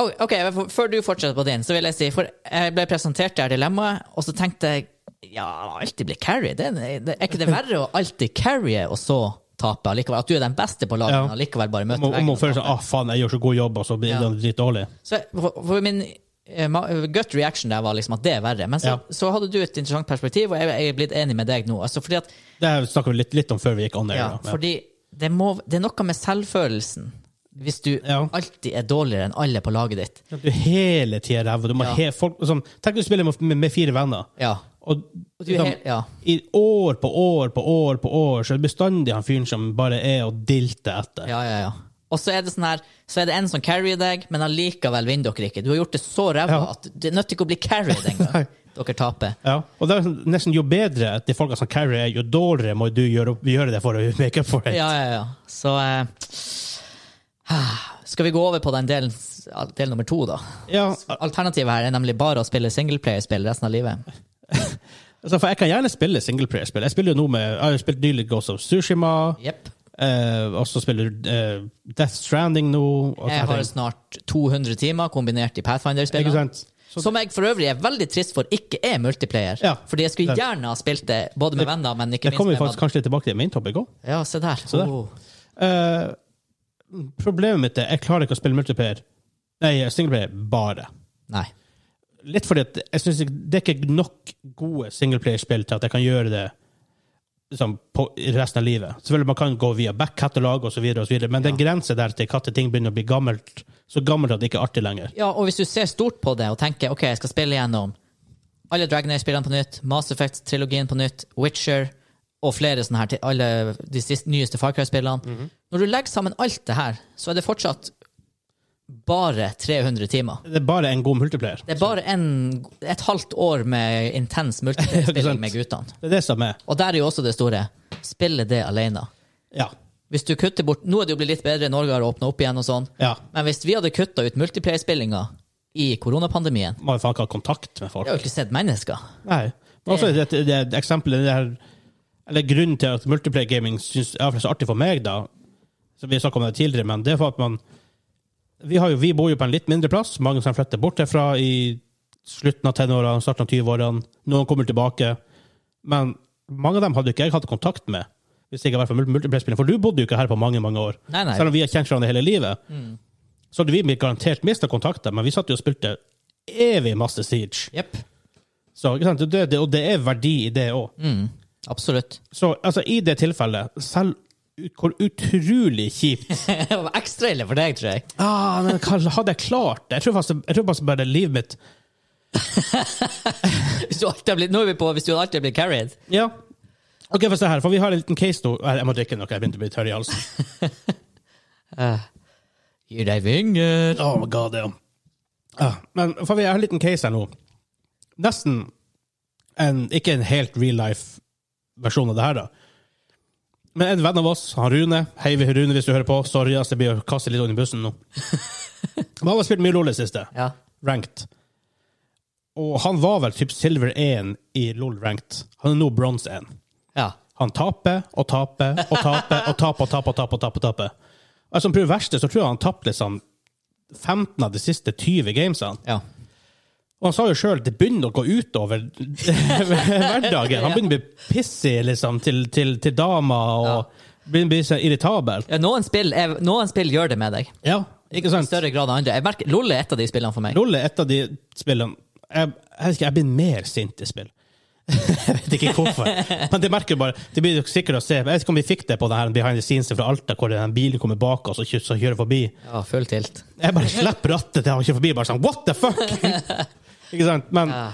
S2: Oh, ok, f- Før du fortsetter på din, så vil jeg si For jeg ble presentert det her dilemmaet, og så tenkte jeg ja, alltid bli carry. Det, er- det, er ikke det verre å alltid carrye og så tape allikevel? At du er den beste på laget,
S1: Ja.
S2: men allikevel bare
S1: Om,
S2: møter
S1: om
S2: veggen
S1: å
S2: og
S1: føle
S2: taper.
S1: seg ah, faen, jeg gjør så god jobb, og så blir
S2: Ja.
S1: det dritdårlig.
S2: Så jeg- for, for min eh, ma- gut reaction der var liksom at det er verre. Men så,
S1: Ja.
S2: så hadde du et interessant perspektiv, og jeg, jeg er blitt enig med deg nå. Altså fordi at,
S1: Det her snakket vi litt, litt om før vi gikk on air.
S2: ja,
S1: da. Ja.
S2: fordi det, må, det er noe med selvfølelsen. Hvis du
S1: Ja.
S2: alltid er dårligere enn alle på laget ditt.
S1: Du er hele tida ræva. Du må
S2: Ja.
S1: he, folk, sånn, tenk du spiller med, med, med fire venner.
S2: Ja.
S1: Og,
S2: Og du er
S1: liksom,
S2: helt, ja.
S1: I år på år på år på år så er det bestandig han fyren som bare er og dilter etter.
S2: Ja, ja, ja. Og så er det sånn her, så er det en som carrier deg, men allikevel vinner dere ikke. Du har gjort det så ræva
S1: Ja.
S2: at det nytter ikke å bli carried engang. dere taper.
S1: Ja. Og det er sånn- nesten jo bedre de folka som carry er, jo dårligere må du gjøre, opp- gjøre det for å make up for it.
S2: Ja, ja, ja. Så eh, skal vi gå over på den delen, del nummer to, da?
S1: Ja,
S2: Alternativet her er nemlig bare å spille singleplayerspill resten av livet.
S1: altså, for jeg kan gjerne spille singleplayerspill. Jeg spiller jo nå med Jeg har jo spilt nylig Ghost of Sushima,
S2: Jepp.
S1: eh, og så spiller du eh, Death Stranding nå. Og
S2: Jeg har snart 200 timer kombinert i
S1: Ikke
S2: Pathfinder-spillene.
S1: sant?
S2: Som jeg for øvrig er veldig trist for ikke er multiplayer.
S1: Ja.
S2: Fordi jeg skulle
S1: Det-
S2: gjerne ha spilt det både med venner, men ikke
S1: Det kommer vi
S2: minst med
S1: faktisk kanskje litt tilbake til i main topic òg.
S2: Ja, se der.
S1: der.
S2: Oh.
S1: Eh, problemet mitt er jeg klarer ikke å spille multiplayer. Nei, singleplayer bare.
S2: Nei.
S1: Litt fordi at jeg synes ikke- det er ikke nok gode singleplayerspill til at jeg kan gjøre det liksom, på i resten av livet. Selvfølgelig Man kan gå via back-katalog osv., men det er en grense der til når ting begynner å bli gammelt, så gammelt at det ikke er artig lenger.
S2: Ja, og hvis du ser stort på det og tenker ok, jeg skal spille gjennom alle Dragonair-spillene på nytt, Mass Effect-trilogien på nytt, Witcher og flere sånne her til alle de siste, nyeste Far Cry-spillene
S1: Mhm.
S2: Når du legger sammen alt det her, så er det fortsatt bare 300 timer.
S1: Det er bare en god multiplayer.
S2: Det er bare en, et halvt år med intens
S1: Ikke sant.
S2: multiplayer-spilling med guttene.
S1: Det er det som er
S2: Og der er jo også det store. Spille det alene.
S1: Ja.
S2: Hvis du kutter bort, Nå er det jo blitt litt bedre, Norge har åpna opp igjen og sånn.
S1: ja.
S2: Men hvis vi hadde kutta ut multiplayer-spillinga i koronapandemien
S1: Man har faen ikke hatt kontakt med folk.
S2: Jeg har jo ikke sett mennesker.
S1: Nei. Men også det, det, det eksempelet det her, Eller grunnen til at multiplayer gaming synes, er så artig for meg, da så Vi snakket om det tidligere, men det er for at man Vi, har jo, vi bor jo på en litt mindre plass. Mange som flytter bort herfra i slutten av tenårene, starten av 20-årene. Noen kommer tilbake. Men mange av dem hadde ikke jeg hatt kontakt med. Hvis det ikke var for multiplayer-spilling. For du bodde jo ikke her på mange mange år.
S2: Nei, nei. Mm.
S1: Selv om vi har kjent hverandre hele livet. Så hadde vi garantert mista kontakter, men vi satt jo og spilte evig masse Siege.
S2: Jepp.
S1: Så, ikke sant? Det, det, og det er verdi i det òg.
S2: Mm. Absolutt.
S1: Så altså, i det tilfellet, selv ut- hvor utrolig kjipt
S2: Det var ekstra ille for deg, tror jeg.
S1: ah, men hva Hadde jeg klart det? Jeg tror faktisk, jeg tror faktisk bare livet mitt
S2: Hvis du alltid har blitt, nå er vi på hvis du alltid har blitt carried.
S1: Ja. OK, få se her, for vi har en liten case nå. Jeg må drikke noe, jeg begynte å bli tørr i halsen.
S2: Gir deg vinger.
S1: Oh my god, ja. Ah, men for vi har en liten case her nå. Nesten en, ikke en helt real life-versjon av det her, da. Men en venn av oss, han Rune Hei, vi- Rune, hvis du hører på. Sorry, ass, jeg blir å kaste litt under bussen nå. Men han har spilt mye LOL i det siste.
S2: Ja.
S1: Ranked. Og han var vel typ silver 1 i LOL ranked. Han er nå bronze 1.
S2: ja.
S1: Han taper og taper og taper og taper og taper. og taper og taper og taper. Altså, på det verste så tror jeg han tapte liksom 15 av de siste 20 gamesene.
S2: ja.
S1: Og han sa jo sjøl at det begynner å gå utover hverdagen. Han begynner å bli pissig liksom, til, til, til dama og begynner å bli så irritabel.
S2: ja noen, spill er, noen spill gjør det med deg.
S1: Ja, ikke
S2: I
S1: sant?
S2: større grad enn andre. Jeg merker, Lolle er et av de spillene for meg.
S1: LOL er et av de spillene Jeg, jeg vet ikke, jeg blir mer sint i spill. jeg vet ikke hvorfor. Men det merker du bare. Det blir jo sikkert å se. Jeg vet ikke om vi fikk det på den her behind the scenes fra Alta, hvor den bilen kommer bak oss og kjø- så kjører forbi.
S2: Ja, full tilt.
S1: Jeg bare slipper rattet til han kjører forbi, bare sånn What the fuck?! ikke sant? Men
S2: Ah.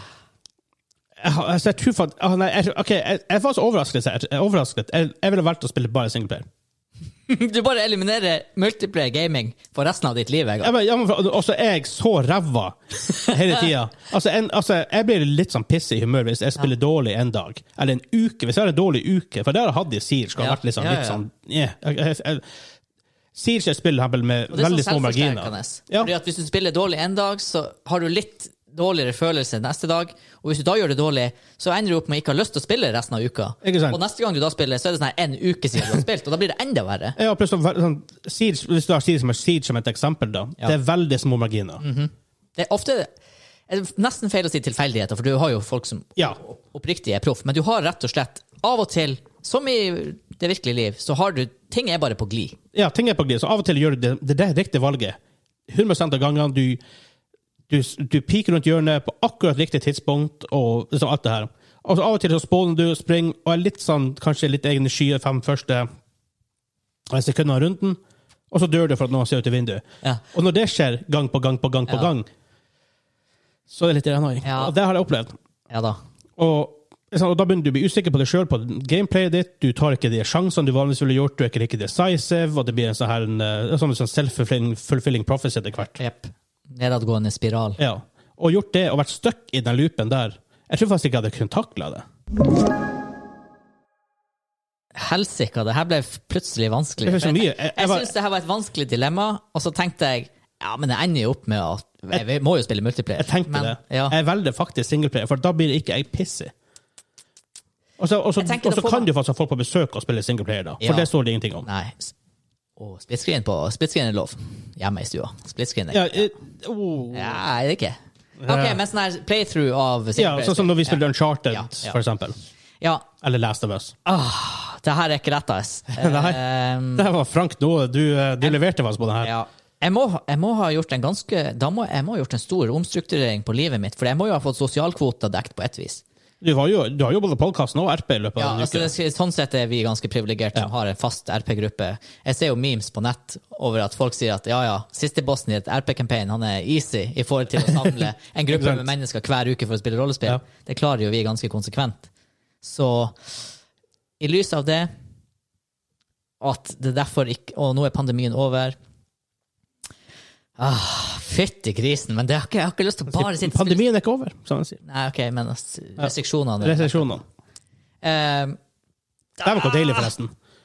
S1: jeg, har- altså, jeg tror faktisk ah, nei, jeg, OK, jeg, jeg var så overrasket. Jeg, jeg, overrasket. jeg, jeg ville valgt å spille bare singleplayer.
S2: Du bare eliminerer multiplayer gaming for resten av ditt liv. Jeg.
S1: Ja, men, ja, men, for- også er jeg så ræva hele tida. Altså, en- altså, jeg blir litt sånn piss i humør hvis jeg spiller dårlig en dag, eller en uke. Hvis jeg har en dårlig uke, for det har jeg hatt i Siege, skal ha
S2: Ja.
S1: vært litt sånn,
S2: Ja, ja,
S1: litt
S2: ja.
S1: sånn eh, jeg, jeg, jeg, Siege er et spill her med
S2: Og det er
S1: veldig
S2: sånn
S1: små marginer.
S2: selvforsterkende.
S1: Ja.
S2: Fordi at Hvis du spiller dårlig en dag, så har du litt dårligere følelse neste dag. Og hvis du da gjør det dårlig, så ender du opp med ikke å ha lyst til å spille resten av uka.
S1: Ikke sant?
S2: Og neste gang du da spiller, så er det sånn her en uke siden du har spilt, og da blir det enda verre.
S1: Ja, pluss sånn, sånn, Siege, Hvis du har Siege som, et- Siege som et eksempel, da.
S2: Ja. Mhm.
S1: Det er veldig små marginer.
S2: Det er ofte er det nesten feil å si tilfeldigheter, for du har jo folk som
S1: Ja.
S2: oppriktig er proff, men du har rett og slett av og til, som i det virkelige liv, så har du Ting er bare på glid.
S1: ja, ting er på glid. Så av og til gjør du det, det, er det riktige valget. 100 av gangene du, du, du piker rundt hjørnet på akkurat riktig tidspunkt, og liksom alt det her. Og så av og til så spåner du, springer, og er litt sånn, kanskje litt egne skyer fem første eh, sekundene av runden, og så dør du for at noen ser ut i vinduet.
S2: Ja.
S1: Og når det skjer gang på gang på gang på
S2: Ja.
S1: gang, så er det litt annoying.
S2: Ja.
S1: Og det har jeg opplevd.
S2: Ja da.
S1: Og, liksom, og da begynner du å bli usikker på deg sjøl, på gameplayet ditt. Du tar ikke de sjansene du vanligvis ville gjort, du er ikke like decisive, og det blir en sånn her en, eh, sånn, sånn self-fulfilling fulfilling prophecy etter hvert.
S2: Jepp. Nedadgående spiral.
S1: Ja. Og gjort det, og vært stuck i den loopen der. Jeg tror faktisk ikke jeg hadde kunnet takle det.
S2: Helsike, det her ble f- plutselig vanskelig.
S1: Det ble så mye.
S2: Jeg,
S1: Jeg-
S2: jeg,
S1: jeg var-
S2: syns det her var et vanskelig dilemma, og så tenkte jeg ja, men jeg ender jo opp med at jeg, Vi må jo spille multiplayer.
S1: Jeg tenkte
S2: men,
S1: det.
S2: Ja.
S1: Jeg velger faktisk singleplayer, for da blir ikke jeg pissy. Og så, og så,
S2: Jeg tenker
S1: og
S2: det
S1: så
S2: får
S1: kan
S2: meg-
S1: du faktisk ha folk på besøk og spille singleplayer, da. For
S2: Ja.
S1: det står det ingenting om.
S2: Nei. s- Å, splittscreen på Splittscreen er lov. Hjemme i stua. Splittscreen er
S1: Ja, eh, oh.
S2: ja, er det ikke? OK, men sånn her playthrough av
S1: ja, sånn som når vi spiller Uncharted,
S2: Ja, ja.
S1: for eksempel.
S2: Ja.
S1: Eller Last of Us.
S2: Det her er ikke rett, ass.
S1: Nei.
S2: Ehm,
S1: Det her var Frank nå. Du, eh, du leverte faktisk på den her.
S2: Ja. Jeg må, jeg må ha gjort en ganske Da må jeg må ha gjort en stor omstrukturering på livet mitt, for jeg må jo ha fått sosialkvoter dekt på et vis.
S1: Du, var jo, du har jo både podkasten og RP i løpet av
S2: Ja,
S1: en
S2: altså,
S1: uke.
S2: det, sånn sett er vi ganske privilegerte som har en fast RP-gruppe. Jeg ser jo memes på nett over at folk sier at ja, ja, siste bossen i et RP-campaign han er easy i forhold til å samle en gruppe med mennesker hver uke for å spille rollespill.
S1: Ja.
S2: Det klarer jo vi ganske konsekvent. Så i lys av det, at det derfor ikke Og nå er pandemien over. Ah, Fytti grisen, men det har ikke, jeg har ikke lyst til å bare sitte og spille
S1: Pandemien er ikke over, som han sier.
S2: Nei, OK, men altså, restriksjonene
S1: Resesjonene.
S2: Eh,
S1: Det var ikke deilig, forresten.
S2: Ah.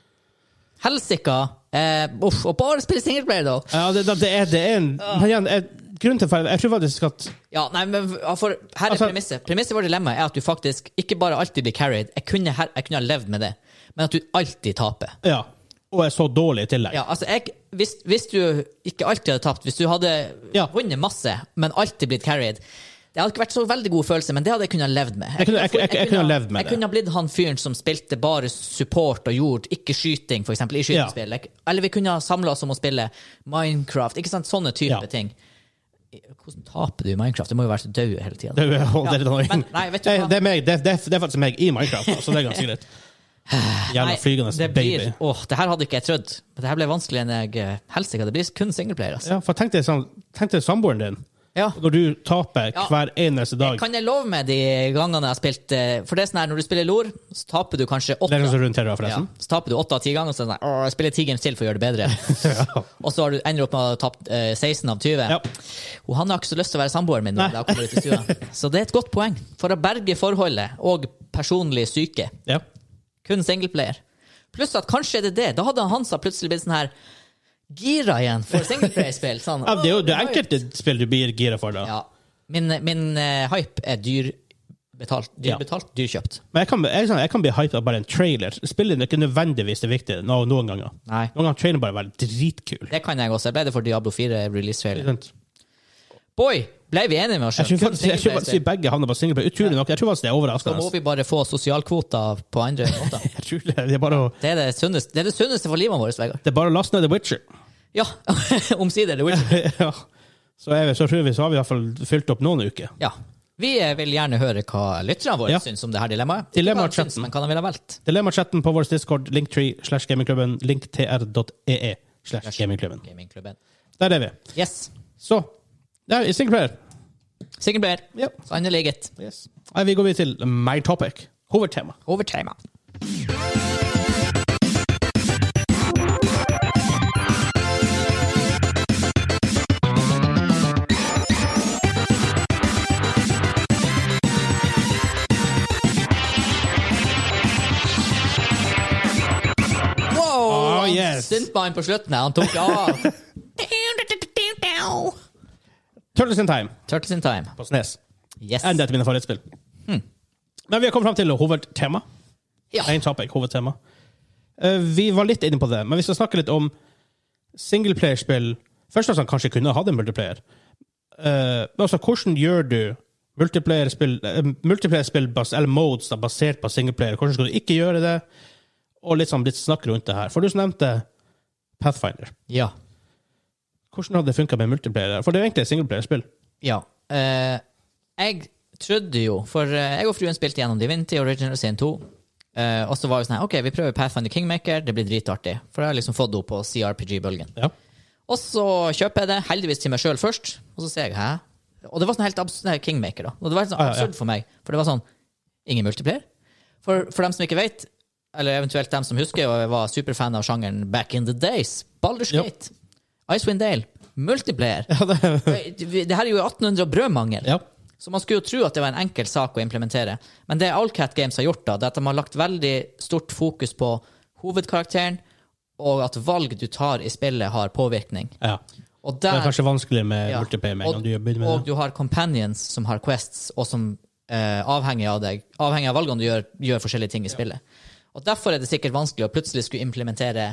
S2: Helsika! Eh, uff, og bare spille singleplayer, da!
S1: Ja, det, det, er, det er en
S2: Ah.
S1: Men igjen, jeg, grunnen til feil Jeg tror faktisk at
S2: Ja, nei, men ja, for Her er
S1: Altså-
S2: premisset. Premisset vårt dilemma er at du faktisk ikke bare alltid blir carried, jeg kunne, her, jeg kunne ha levd med det, men at du alltid taper.
S1: Ja. Og er så dårlig i tillegg.
S2: Ja, altså, jeg, hvis, hvis du ikke alltid hadde tapt, hvis du hadde
S1: Ja.
S2: vunnet masse, men alltid blitt carried Det hadde ikke vært så veldig god følelse, men det hadde jeg kunnet ha levd med.
S1: Jeg kunne- jeg- jeg- jeg kunne ha levd med
S2: jeg
S1: det.
S2: kunne ha blitt han fyren som spilte bare support og gjorde ikke skyting, for eksempel, i
S1: Ja.
S2: skytespill. Jeg- Eller vi kunne ha samla oss om å spille Minecraft. Ikke sant? Sånne
S1: Ja.
S2: type ting. Hvordan taper du i Minecraft? Det må jo være så død hele tida.
S1: Det, er- og det, er noe-
S2: men- nei, vet du
S1: det,
S2: hva?
S1: det, er meg, det, det, er- det er faktisk meg i Minecraft, så det er ganske greit. Jævla flygende
S2: det blir,
S1: baby.
S2: Åh, det her hadde ikke jeg trodd. Men det her ble vanskeligere enn jeg eh, helst ikke. Det blir kun singleplayer, altså.
S1: Ja, for tenk deg, sånn, tenk deg samboeren din.
S2: Ja.
S1: Når du taper
S2: Ja.
S1: hver eneste dag.
S2: Kan jeg love meg de gangene jeg har spilt eh, For det er sånn her, når du spiller LOR, så taper du kanskje
S1: Det
S2: åtte.
S1: er sånn som rundt her, da,
S2: Ja,
S1: forresten.
S2: så taper du åtte av ti ganger, og så er det sånn, «Åh, jeg spiller ti games til for å gjøre det bedre.
S1: Ja.
S2: Og så har du ender du opp med å ha tapt eh, 16 av 20.
S1: Ja.
S2: Og han har ikke så lyst til å være samboeren min. Når jeg kommer ut i stua. Så det er et godt poeng. For å berge forholdet og personlig syke.
S1: Ja.
S2: Kun singleplayer. Pluss at kanskje er det det. Da hadde Hansa plutselig blitt sånn her gira igjen for singleplayerspill. Sånn,
S1: Ja, det er jo det
S2: «Åh, hype».
S1: enkelte spill du blir gira for, da.
S2: Ja. Min, min eh, hype er dyr betalt, dyr
S1: Ja.
S2: betalt, dyr kjøpt.
S1: Men jeg kan, jeg, er sånn- jeg kan bli hyped av bare en trailer. Spillet er ikke nødvendigvis det viktige no, noen ganger.
S2: Nei.
S1: Noen ganger trailer bare være dritkul.
S2: Det kan jeg også. Jeg ble det for Diablo 4 release-feil.
S1: Jeg
S2: Boy, ble vi enige med oss
S1: tror
S2: selv? Kun
S1: faktisk jeg tror faktisk vi
S2: singleplayerspill.
S1: begge havner på singleplayer. Utrolig nok. Jeg tror faktisk det er
S2: Da må
S1: overraskende.
S2: vi bare få sosialkvoter på andre måter.
S1: Jeg tror det, det, er bare å,
S2: Det er det sunneste, det er det sunneste for livet vårt, Vegard.
S1: det er bare å laste ned The Witcher.
S2: Ja, omsider. det er Witcher.
S1: ja. Så, er vi, så tror vi så har vi i hvert fall fylt opp noen uker.
S2: Ja. Vi eh, vil gjerne høre hva lytterne våre
S1: Ja.
S2: syns om det her dilemmaet. Ikke
S1: Dilemma
S2: hva de syns,
S1: chatten.
S2: Men hva de ville ha valgt.
S1: Dilemma-chatten på vår Discord, linktree slash gamingklubben, linktr.ee E slash gamingklubben.
S2: Gamingklubben.
S1: Der er vi.
S2: Yes.
S1: Så der, singleplayer.
S2: Singleplayer.
S1: Ja.
S2: Sannelig. gitt.
S1: Yes. Nei, vi går videre til my topic. Hovedtema.
S2: Over tema. Wow!
S1: yes.
S2: syntmannen på slutten her. Han tok av.
S1: Turtles in Time
S2: Turtles in Time.
S1: på Snes. Hmm.
S2: Yes.
S1: Enda et av mine favorittspill. Men vi har kommet fram til hovedtema.
S2: Ja.
S1: Main topic, hovedtema. Eh, vi var litt inne på det, men vi skal snakke litt om singleplayerspill. Først og fremst kanskje kunne hatt en multiplayer. Eh, men altså, hvordan gjør du multiplayerspill eh, multiplayerspill bas, eller modes da, basert på singleplayer? Hvordan skal du ikke gjøre det? Og litt sånn litt snakk rundt det her. For du som nevnte Pathfinder.
S2: ja.
S1: Hvordan hadde det funka med multiplayer? For det er jo egentlig et singleplayerspill.
S2: Ja. eh, jeg trodde jo, for eh, jeg og fruen spilte gjennom Divinity Original Sin 2. eh, og så var vi sånn her, OK, vi prøver Pathfinder Kingmaker, det blir dritartig. For jeg har liksom fått henne på CRPG-bølgen.
S1: Ja.
S2: Og så kjøper jeg det, heldigvis til meg sjøl først, og så ser jeg hæ? Og det var sånn helt absurd, nei, Kingmaker, da. Og det var helt sånn
S1: Ah, ja, ja.
S2: absurd for meg, for det var sånn Ingen multiplier. For, for dem som ikke vet, eller eventuelt dem som husker, og jeg var superfan av sjangeren back in the days, Baldur's
S1: Ja.
S2: Gate, Icewind Dale, multiplayer.
S1: Ja, det,
S2: Det her er jo 1800 og brødmangel.
S1: ja.
S2: Så man skulle jo tro at det var en enkel sak å implementere. Men det Allcat Games har gjort, da, det er at de har lagt veldig stort fokus på hovedkarakteren, og at valg du tar i spillet, har påvirkning.
S1: ja.
S2: Og
S1: Det
S2: der,
S1: er kanskje vanskeligere med
S2: ja,
S1: multiplayer med en
S2: og,
S1: gang du begynner med
S2: og
S1: det.
S2: du har companions som har quests, og som eh, avhenger av deg, avhengig av valgene du gjør, gjør forskjellige ting i spillet. Og derfor er det sikkert vanskelig å plutselig skulle implementere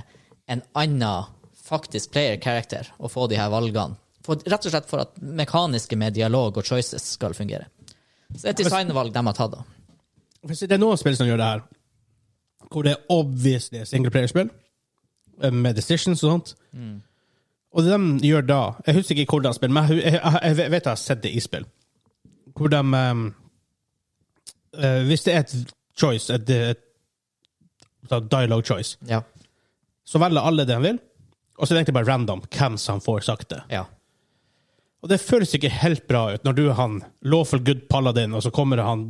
S2: en annen faktisk player character og få de her valgene. For, rett og slett for at mekaniske med dialog og choices skal fungere. Så det er et designvalg de har tatt, da.
S1: Hvis det er noen spill som gjør det her, hvor det er obviously singleplayerspill, eh, med decisions og sånt,
S2: Mm.
S1: og det de gjør da Jeg husker ikke hvordan spill, men jeg, jeg, jeg vet jeg har sett det i spill. Hvor de eh, eh, Hvis det er et choice, et, et, et dialogue choice,
S2: Ja.
S1: så velger alle det han vil, og så er det egentlig bare random hvem som får sagt det.
S2: ja.
S1: Og det føles ikke helt bra ut når du er han lawful good paladin, og så kommer han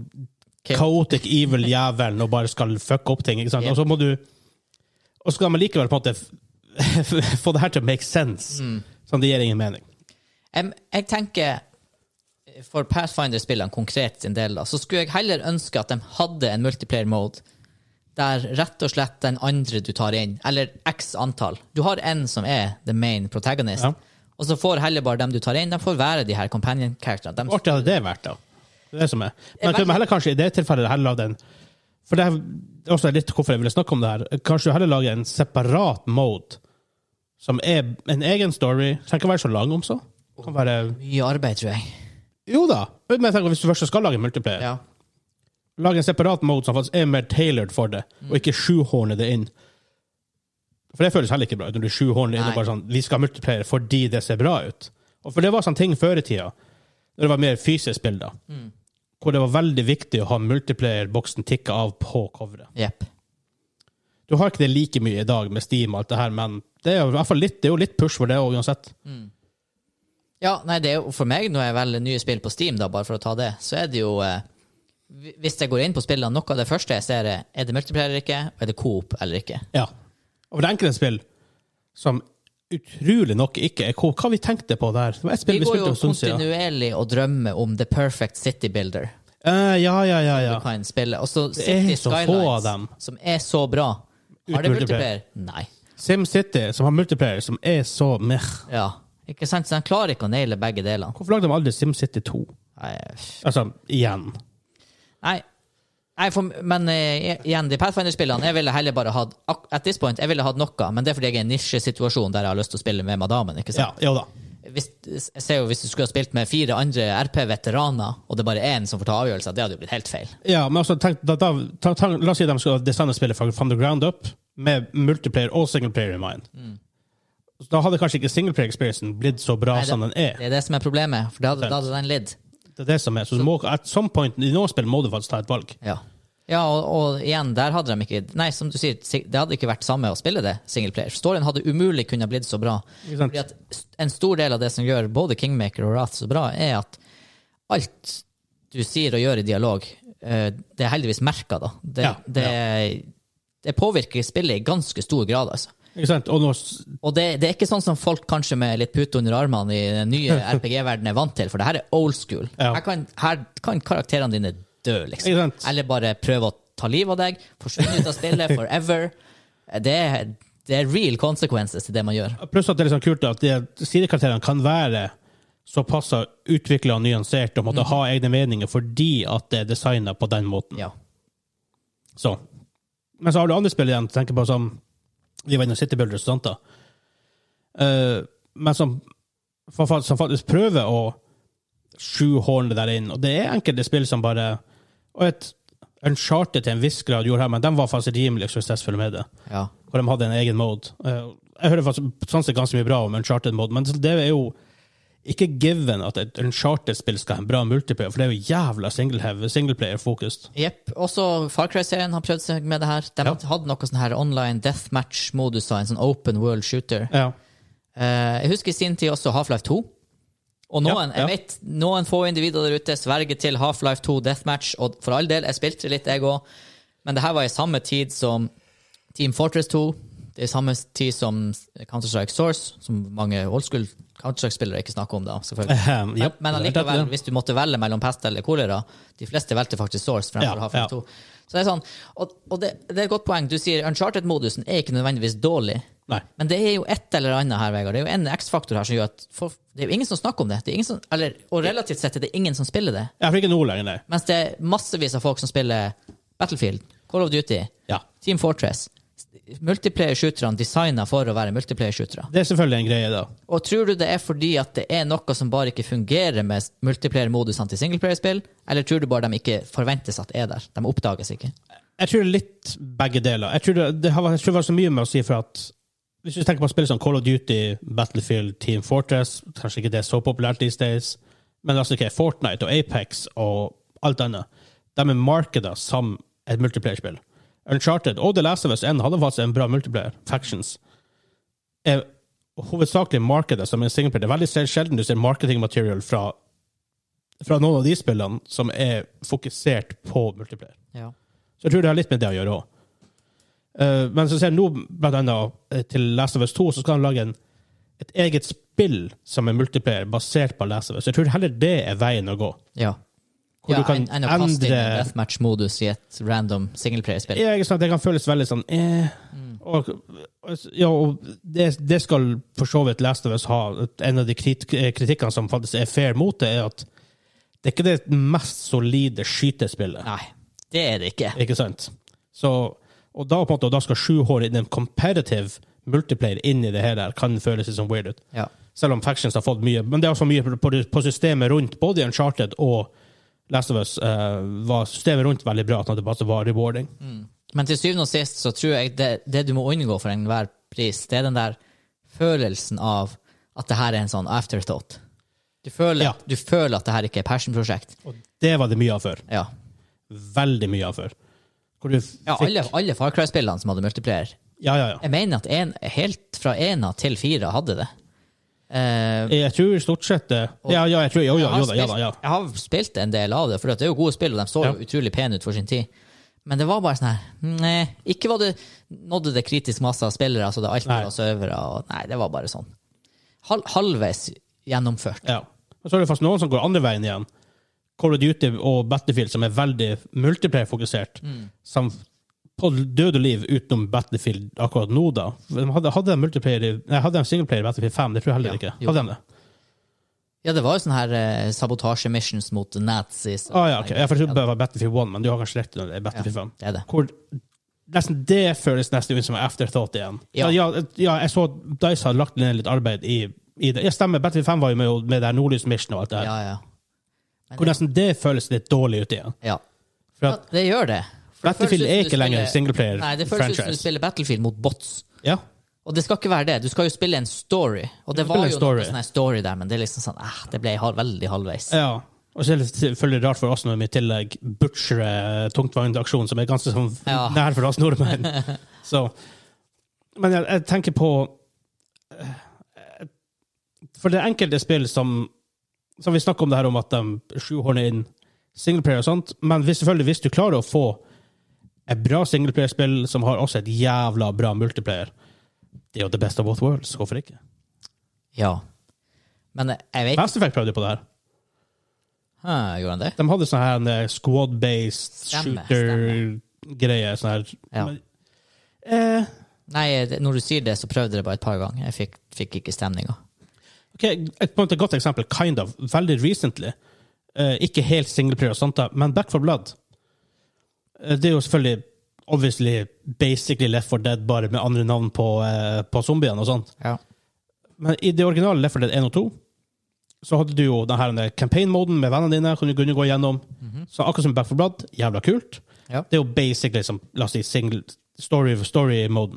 S2: Kim.
S1: chaotic evil jævelen og bare skal fucke opp ting. ikke sant?
S2: Yep.
S1: Og så må du Og så skal man likevel på en måte f- få det her til å make sense. Sånn, det gir ingen mening.
S2: Jeg, jeg tenker eh, for Pathfinder-spillene konkret sin del, da, så skulle jeg heller ønske at de hadde en multiplayer mode der rett og slett den andre du tar inn, eller x antall Du har en som er the main protagonist,
S1: Ja.
S2: og så får heller bare dem du tar inn, de får være de her companion-characterne.
S1: Hvor
S2: De-
S1: artig hadde det vært, da? Det er det som er. Men jeg
S2: veldig-
S1: tror heller kanskje i det tilfellet heller lage den For det er det er også litt hvorfor jeg ville snakke om det her. Kanskje du heller lager en separat mode som er en egen story. Trenger ikke være så lang, om så. Kan være
S2: Mye arbeid, tror jeg.
S1: Jo da! Men jeg tenker, hvis du først skal lage en multiplayer,
S2: Ja.
S1: lag en separat mode som faktisk er mer tailored for det, og ikke sjuhorne det inn. For det føles heller ikke bra ut når du sjuhorner inn og
S2: Nei.
S1: bare sånn Vi skal multiplayere fordi det ser bra ut. Og For det var sånn ting før i tida, når det var mer fysisk spill, da,
S2: Mm.
S1: hvor det var veldig viktig å ha multiplayer-boksen tikka av på coveret.
S2: Jepp.
S1: Du har ikke det like mye i dag med Steam og alt det her, men det er jo i hvert fall litt, det er jo litt push for det også, uansett.
S2: Ja, nei, det er jo for meg, når jeg velger nye spill på Steam, da, bare for å ta det, så er det jo eh, hvi- Hvis jeg går inn på spillene, noe av det første jeg ser, er er det multiplayer eller ikke, og er det coop eller ikke.
S1: Ja. Og for det er enkelte spill som utrolig nok ikke er Hva vi tenkte på der? Det var et spill
S2: Vi
S1: vi,
S2: går
S1: spilte
S2: jo
S1: for en stund siden.
S2: kontinuerlig og drømmer om The Perfect City Builder.
S1: Eh, ja, ja, ja, ja.
S2: Du kan spille. Og så
S1: er
S2: City
S1: så få av dem.
S2: Skylines, som er så bra. Har det
S1: Uten
S2: multiplayer? Nei.
S1: SimCity, som har multiplayer, som er så meh.
S2: Ja. Ikke sant? Så de klarer ikke å naile begge delene.
S1: Hvorfor lagde de aldri SimCity 2?
S2: Nei, f-
S1: Altså, igjen.
S2: Nei. Nei for, men eh, igjen, de Pathfinder-spillene Jeg ville heller bare hatt ak- At this point, jeg ville hatt noe, men det er fordi jeg er i en nisjesituasjon der jeg har lyst til å spille med madammen. ikke sant?
S1: Ja, jo da.
S2: hvis, jeg ser jo hvis du skulle ha spilt med fire andre RP-veteraner, og det er bare én som får ta avgjørelser, det hadde jo blitt helt feil.
S1: Ja, men altså, tenk, da, da, ta- ta- la oss si de skal designe spillet fra from the ground up, med multiplayer og singleplayer i mind.
S2: Mm.
S1: Så Da hadde kanskje ikke singleplayer-experiencen blitt så bra
S2: Nei, det-
S1: som den er.
S2: Det er det som er problemet, for da hadde, da hadde den lidd.
S1: Det er det som er. Så, du må, at some point, i noen spill må du faktisk ta et valg.
S2: Ja, ja og, og igjen, der hadde de ikke Nei, som du sier, si- det hadde ikke vært samme å spille det singleplayer. Storyen hadde umulig kunnet blitt så bra.
S1: Ikke sant?
S2: Fordi at st- en stor del av det som gjør både Kingmaker og Wrath så bra, er at alt du sier og gjør i dialog, eh, det er heldigvis merka, da. Det,
S1: Ja,
S2: det, det påvirker spillet i ganske stor grad, altså.
S1: Ikke sant? Og nå, s-
S2: Og det, det er ikke sånn som folk kanskje med litt pute under armene i den nye RPG-verdenen er vant til, for det her er old school.
S1: Ja.
S2: Her, kan, her kan karakterene dine dø, liksom.
S1: Ikke sant?
S2: Eller bare prøve å ta livet av deg, forsvinne ut av spillet forever. Det, Det er real consequences til det man gjør.
S1: Pluss at det er liksom kult at de sidekarakterene kan være såpass utvikla og nyansert og måtte ha egne meninger fordi at det er designa på den måten.
S2: Ja.
S1: Så. Men så har du andre spill igjen. Tenker på som Vi var inne og City Builders. Sant, da. Eh, men som, fa- fa- som faktisk prøver å sjuhorne det der inn. Og det er enkelte spill som bare Og et Uncharted til en viss grad gjorde her, men de var faktisk rimelig suksessfulle med det.
S2: ja.
S1: Og de hadde en egen mode. Eh, Jeg hører faktisk sånn sett ganske mye bra om Uncharted-mode, men det er jo ikke given at et Uncharted-spill skal ha en bra multiplayer, for det er jo jævla single- singleplayer-fokust.
S2: Jepp. Også Far Cry-serien har prøvd seg med det her. De
S1: Ja.
S2: hadde noe sånn her online deathmatch-modus av en sånn open world shooter.
S1: Ja.
S2: Eh, jeg husker i sin tid også Half-Life 2. Og
S1: Ja,
S2: noen,
S1: ja.
S2: jeg vet, noen få individer der ute sverger til Half-Life 2 Deathmatch, og for all del, jeg spilte litt, jeg òg, men det her var i samme tid som Team Fortress 2. Det er i samme tid som Counter-Strike Source, som mange old school Counter-Strike-spillere ikke snakker om, da, selvfølgelig.
S1: Ahem,
S2: Men,
S1: japp.
S2: men allikevel, hvis du måtte velge mellom pest eller kolera De fleste valgte faktisk Source fremfor
S1: Ja,
S2: Half-Life
S1: ja.
S2: 2. Så det er sånn, og, og det, det er et godt poeng. Du sier Uncharted-modusen er ikke nødvendigvis dårlig.
S1: Nei.
S2: Men det er jo et eller annet her, Vegard. Det er jo en X-faktor her som gjør at for, Det er jo ingen som snakker om det. det er ingen som, eller, og relativt sett er det ingen som spiller det.
S1: Jeg får ikke noe lenger, nei.
S2: Mens det er massevis av folk som spiller Battlefield, Call of Duty,
S1: Ja.
S2: Team Fortress. Multiplayer-shooterne designa for å være multiplayer-shootere.
S1: Det er selvfølgelig en greie, da.
S2: Og tror du det er fordi at det er noe som bare ikke fungerer med multiplayer-modusene til singleplayer-spill, eller tror du bare de ikke forventes at er der? De oppdages ikke.
S1: Jeg tror det er litt begge deler. Jeg tror det, det har, jeg tror det var så mye med å si for at hvis du tenker på spill som Call of Duty, Battlefield, Team Fortress Kanskje ikke det er så populært these days, men altså ikke Fortnite og Apex og alt annet. De er markedet som et multiplayerspill. Uncharted og The Last of Us 1 hadde faktisk en bra multiplayer. Factions. Er hovedsakelig markedet som en singleplayer. Det er veldig sjelden du ser marketingmaterial fra, fra noen av de spillene som er fokusert på multiplayer.
S2: Ja.
S1: Så jeg tror det har litt med det å gjøre òg. men så ser jeg nå blant annet eh, til Last of Us 2, så skal han lage en, et eget spill som er multiplayer basert på Last of Us. Jeg tror heller det er veien å gå.
S2: ja.
S1: Hvor du kan
S2: enn å kaste inn en
S1: endre-
S2: deathmatch-modus i et random singleplayer-spill.
S1: Ja, ikke sant? Det kan føles veldig sånn eh,
S2: Mm.
S1: og, og, ja, og det, det skal for så vidt Last of Us ha. En av de krit, eh, kritikkene som faktisk er fair mot det, er at det er ikke det mest solide skytespillet.
S2: Nei, det er det ikke.
S1: Ikke sant? Så, og da, på en måte, og da skal sju hår i den competitive multiplayer inn i det her, der, kan føles litt sånn weird ut.
S2: Ja.
S1: Selv om Factions har fått mye. Men det er også mye på, på systemet rundt, både i Uncharted og Last of Us, eh, var systemet rundt veldig bra, sånn at det bare var rewarding.
S2: Mm. Men til syvende og sist så tror jeg det, det du må unngå for enhver pris, det er den der følelsen av at det her er en sånn afterthought. Du føler,
S1: Ja.
S2: du føler at det her ikke er passion-prosjekt.
S1: Og det var det mye av før.
S2: Ja.
S1: Veldig mye av før. Hvor du f-
S2: ja,
S1: fikk
S2: alle, alle Far Cry-spillene som hadde multiplayer,
S1: Ja, ja, ja.
S2: jeg mener at en, helt fra ena til fire hadde det. Eh,
S1: Jeg tror stort sett det. Ja, ja, jeg tror, jo,
S2: jeg,
S1: ja,
S2: har
S1: jo da, ja da.
S2: spilt,
S1: Ja.
S2: jeg har spilt en del av det, for det er jo gode spill, og de så jo
S1: Ja.
S2: utrolig pene ut for sin tid. Men det var bare sånn her Nei, ikke var det, nådde det kritisk masse av spillere, altså det er alt
S1: Nei.
S2: fra servere og Nei, det var bare sånn. Hal, halvveis gjennomført.
S1: Ja. Men så er det faktisk noen som går andre veien igjen. Call of Duty og Battlefield, som er veldig multiplayer-fokusert, som på død og liv utenom Battlefield akkurat nå, da. De Hadde, hadde de multiplayer i- nei, hadde de singleplayer i Battlefield 5? Det tror jeg heller
S2: Ja,
S1: ikke.
S2: jo.
S1: Hadde de det?
S2: Ja, det var jo sånn her eh, sabotasje-missions mot nazis.
S1: Ah, ja, ok. Jeg får tro det var Battlefield 1, men du har kanskje rett i det. det er Battlefield 5.
S2: Det er det.
S1: Hvor nesten det føles nesten ut som en afterthought igjen.
S2: Ja.
S1: Ja. Ja, ja, jeg så Dice hadde lagt ned litt arbeid i, i det. Ja, stemmer. Battlefield 5 var jo med, med det her Nordlys Mission og alt det her.
S2: Ja, ja.
S1: Hvor nesten det føles litt dårlig ut igjen.
S2: ja.
S1: For
S2: ja
S1: at
S2: det gjør det. For det
S1: Battlefield
S2: føles ut
S1: er
S2: som du
S1: ikke lenger
S2: spiller-
S1: singleplayer
S2: Nei, det føles ut som du
S1: franchise.
S2: spiller Battlefield mot bots.
S1: Ja.
S2: Og det skal ikke være det. Du skal jo spille en story. Og det
S1: Du
S2: var
S1: spiller
S2: jo
S1: en story.
S2: noe sånn her story der, men det er liksom sånn eh, Det ble hal veldig halvveis.
S1: ja. Og så er det selvfølgelig rart for oss når vi i tillegg butcherer tungtvognaksjonen, som er ganske sånn
S2: Ja.
S1: nær for oss nordmenn. Så, men jeg, jeg tenker på eh, For det er enkelte spill som som vi snakker om det her om at de sjuhorner inn singleplayer og sånt, men hvis, selvfølgelig hvis du klarer å få et bra singleplayerspill som har også et jævla bra multiplayer, det er jo the best of both worlds. Hvorfor ikke?
S2: Ja. Men eh, jeg, jeg vet
S1: Mass Effect prøvde på det her.
S2: Hæ, Gjorde han det?
S1: De hadde sånn her eh, squad-based
S2: Stemme,
S1: shooter-greie. Sånn her.
S2: Ja.
S1: Men, eh,
S2: Nei, det- når du sier det, så prøvde jeg det bare et par ganger. Jeg fikk, fikk ikke stemninga.
S1: Ok, Et på en måte godt eksempel, kind of, veldig recently. Eh, ikke helt singleplayer og sånt, da, men Back for Blood. Eh, det er jo selvfølgelig obviously basically Left for Dead, bare med andre navn på, eh, på zombiene og sånt.
S2: Ja.
S1: Men i det originale Left for Dead 1 og 2 så hadde du jo den her denne campaign-moden med vennene dine. kunne du kunne gå gjennom. Så akkurat som Back for Blood, jævla kult.
S2: Ja.
S1: Det er jo basically som la oss si, single story-moden. Story men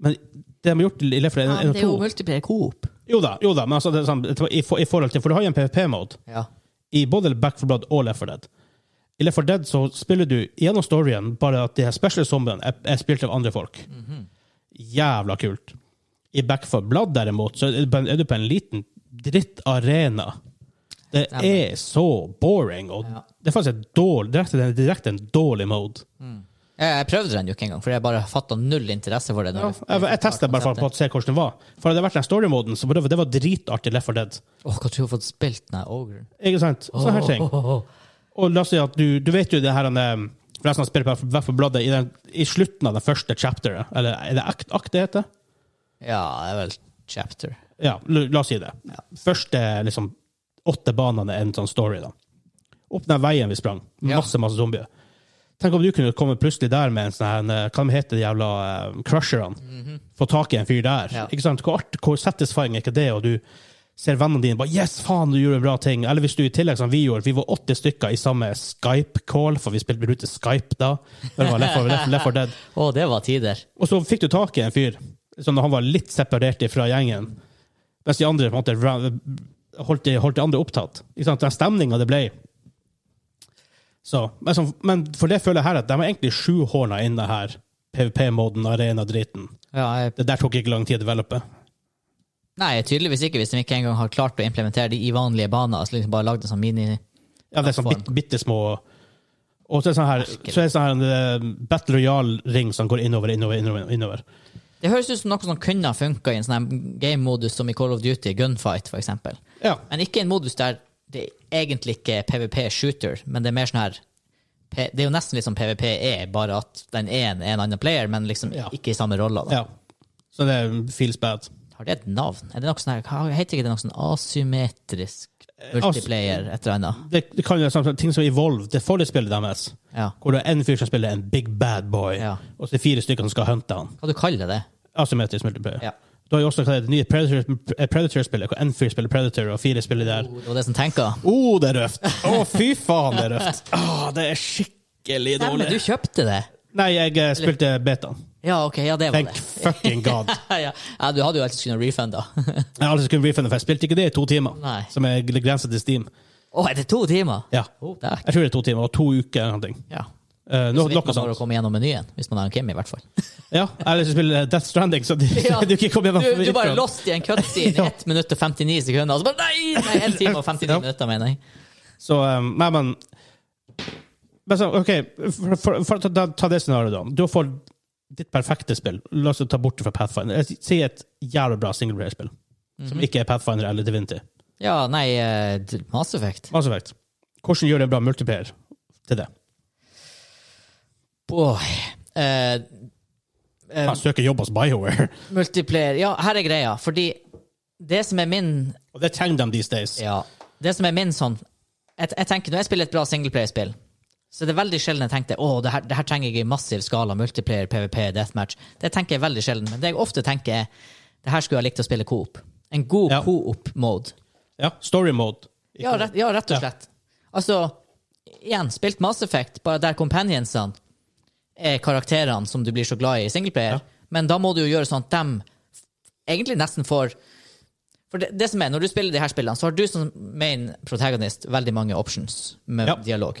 S1: det de har gjort i Left for Dead 1
S3: Ja, men
S1: og
S3: det er jo
S1: 2
S3: multiplayer coop.
S1: Jo da, jo da, men altså, det er sånn, i, for, i forhold til, for du har jo en PVP-mode
S2: ja.
S1: i både Back for Blood og Left 4 Dead. I Left 4 Dead så spiller du gjennom storyen, bare at de her special zombiene er, er spilt av andre folk.
S2: Mhm.
S1: Jævla kult. I Back for Blood, derimot, så er du på en, er du på en liten drittarena. Det
S2: Stemmer.
S1: er så boring, og
S2: Ja.
S1: det er faktisk en dårlig, direkte, det er direkte en dårlig mode.
S2: Jeg, jeg prøvde den jo ikke engang, for jeg bare fatta null interesse for det. når
S1: Jeg, jeg, jeg testet bare for, for å se hvordan det var. For hadde det vært den story-moden, så det, det var dritartig i Left 4 Dead.
S2: Åh, hva tror du har fått spilt den ogren?
S1: Ikke sant? Sånne her ting. Og la oss si at du, du vet jo det her han, eh, For de som spiller på Hvert for bladet, i, den, i slutten av det første chapteret Eller er det akt, akt det heter?
S2: Ja, det er vel chapter.
S1: Ja, la, la oss si det.
S2: Ja.
S1: Første liksom, åtte banene er en sånn story. da. Opp den veien vi sprang.
S2: Ja.
S1: Masse masse zombier. Tenk om du kunne komme plutselig der med en sånn her, en, eh, hva de heter de jævla eh, crusherne? Få tak i en fyr der.
S2: Mhm. Ja.
S1: Ikke sant? Hvor, art, hvor satisfying er ikke det? Og du ser vennene dine bare Yes, faen, du gjorde en bra ting. Eller hvis du i tillegg, som vi gjorde, vi var 80 stykker i samme Skype-call, for vi spilte vi brukte Skype da. Det var Left 4 Left- Left 4 Dead.
S2: Å, det var tider.
S1: Og så fikk du tak i en fyr som han var litt separert fra gjengen, mens de andre på en måte ra- holdt de, holdt de andre opptatt. Ikke sant? Den stemninga det ble. Så, men, som, men for det føler jeg her at de var egentlig sjuhorna inn det her PVP-moden, arena-driten.
S2: Ja, jeg,
S1: Det der tok ikke lang tid å develope.
S2: nei, tydeligvis ikke, hvis de ikke engang har klart å implementere de i vanlige baner. Altså liksom bare lagd en sånn mini...
S1: Ja, det er sånn bit, bitte små Og så er det sånn her, så er det sånn her en eh, Battle Royale-ring som går innover, innover, innover. innover.
S2: Det høres ut som noe som kunne ha funka i en sånn her game-modus som i Call of Duty, gunfight, for eksempel.
S1: Ja.
S2: Men ikke en modus der det egentlig ikke er PVP-shooter, men det er mer sånn her P- Det er jo nesten litt som PVP er, bare at den ene er en annen player, men liksom
S1: Ja.
S2: ikke i samme rolle. da.
S1: ja. Så det feels bad.
S2: Har det et navn? Er det noe sånn her, hva heter ikke det noe sånn asymmetrisk
S1: Eh,
S2: multiplayer, et eller annet?
S1: Det, det kan jo være sånn- ting som Evolve, det får de spille deres.
S2: Ja.
S1: Hvor det er en fyr som spiller en big bad boy,
S2: Ja.
S1: og så er det fire stykker som skal hunte han.
S2: Hva du kaller det?
S1: Asymmetrisk multiplayer.
S2: Ja.
S1: Du har jo også hva er det nye Predator- eh, Predator-spillet, hvor en fyr spiller Predator, og fire spiller der. Å,
S2: Det var det som tenker.
S1: oh, det er røft! Å, fy faen, det er røft! Å, det er skikkelig
S2: Stemmer,
S1: dårlig.
S2: du kjøpte det?
S1: Nei, jeg eh, spilte betaen.
S2: Ja, ok, ja, det var
S1: Thank
S2: det.
S1: fucking god.
S2: ja, ja, du hadde jo alltid kunnet refunda.
S1: Jeg har aldri skulle refunde, for jeg spilte ikke det i to timer,
S2: Nei.
S1: som er grensa til Steam.
S2: Å, er det to timer?
S1: Ja.
S2: Oh, det er
S1: Jeg tror det er to timer, og to uker eller noe.
S2: ja.
S1: Eh,
S2: Så
S1: no,
S2: vidt
S1: noe
S2: man bare
S1: sånt.
S2: kommer gjennom menyen, hvis man har en Kim, i hvert fall.
S1: Ja, eller så spiller jeg eh, Death Stranding, så du, du ikke kom gjennom.
S2: du, du bare
S1: refunn.
S2: lost i en cutscene i 1 minutt og 59 sekunder, og så bare nei! nei 1 time og 59
S1: Ja.
S2: minutter, mener jeg.
S1: Så um, Nei, men men så, OK, for, for, for å ta, ta det scenarioet, da. Du får ditt perfekte spill. La oss ta bort det fra Pathfinder. Jeg sier et jævlig bra singleplayerspill. Som ikke er Pathfinder eller Divinity.
S2: Ja, nei, eh, d- Mass Effect.
S1: Mass Effect. Hvordan gjør du en bra multiplayer til det?
S2: Boy. Eh, eh,
S1: Han søker jobb hos BioWare.
S2: multiplayer Ja, her er greia, fordi det som er min
S1: Og det trenger de these days.
S2: Ja, det som er min sånn Jeg, jeg tenker, Når jeg spiller et bra singleplayerspill, så er det veldig sjelden jeg tenkte å, det her, det her trenger jeg i massiv skala. Multiplayer, PVP, deathmatch. Det tenker jeg veldig sjelden. Men det jeg ofte tenker, er det her skulle jeg likt å spille coop. En god
S1: Ja.
S2: coop-mode.
S1: Ja, story mode.
S2: Ja, rett, ja, rett og slett. Altså, igjen, spilt Mass Effect, bare der companionsene er karakterene som du blir så glad i i singleplayer,
S1: Ja.
S2: men da må du jo gjøre sånn at dem egentlig nesten får For det, det som er, når du spiller de her spillene, så har du som main protagonist veldig mange options med
S1: Ja.
S2: dialog,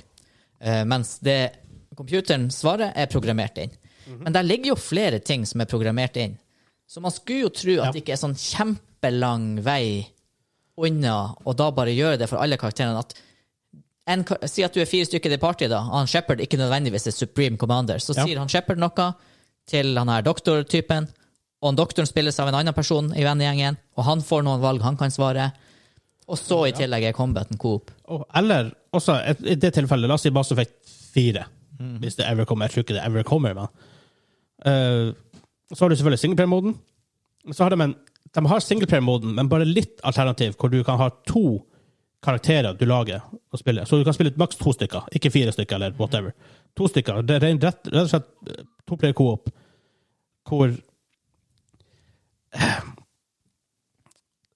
S2: Eh, mens det computeren svarer, er programmert inn.
S1: Mhm.
S2: Men der ligger jo flere ting som er programmert inn, så man skulle jo tro at
S1: Ja.
S2: det ikke er sånn kjempelang vei unna, og da bare gjøre det for alle karakterene. at en, kar- Si at du er fire stykker i det partyet, da. Han Shepherd ikke nødvendigvis er Supreme Commander. Så
S1: Ja.
S2: sier han Shepherd noe til han her doktortypen, og han doktoren spilles av en annen person i vennegjengen, og han får noen valg han kan svare. Og så i tillegg er combaten coop.
S1: Og, eller også, et- i det tilfellet, la oss si Mass Effect 4. Hvis det ever kommer. Jeg tror ikke det ever kommer, men eh, Og så har du selvfølgelig singleplayer-moden. Men så har de en De har singleplayer-moden, men bare litt alternativ, hvor du kan ha to karakterer du lager og spiller. Så du kan spille ut maks to stykker, ikke fire stykker eller whatever. To stykker. Det er rett, rett og slett eh, to player co-op, hvor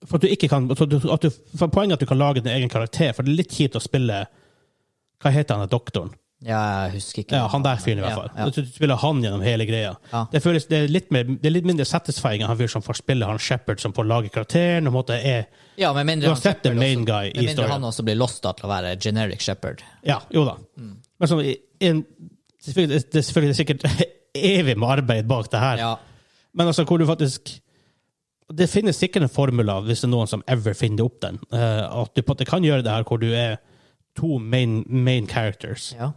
S1: For at du ikke kan så du, at du, for Poenget er at du kan lage din egen karakter, for det er litt kjipt å spille Hva heter han doktoren?
S2: Ja, jeg husker ikke.
S1: Ja, han der fyren, i hvert fall.
S2: Ja, ja.
S1: Du du spiller han gjennom hele greia.
S2: Ja.
S1: Det, føles, det, er litt mer, det er litt mindre satisfying enn han fyren som får spille han Shepherd, som får lage karakteren. og på en måte er...
S2: Ja, med mindre
S1: Du har
S2: han
S1: sett the
S2: Shepard
S1: main
S2: også-
S1: guy i
S2: Med mindre
S1: storyen.
S2: han også blir lost da til å være generic Shepherd.
S1: Ja, jo da.
S2: Mm.
S1: Men sånn, i- i en, selvfølgelig, det er selvfølgelig sikkert evig med arbeid bak det her,
S2: Ja.
S1: men altså hvor du faktisk Det finnes sikkert en formel av, hvis det er noen som ever finner opp den, eh, at du på en måte kan gjøre det her hvor du er to main, main characters.
S2: ja.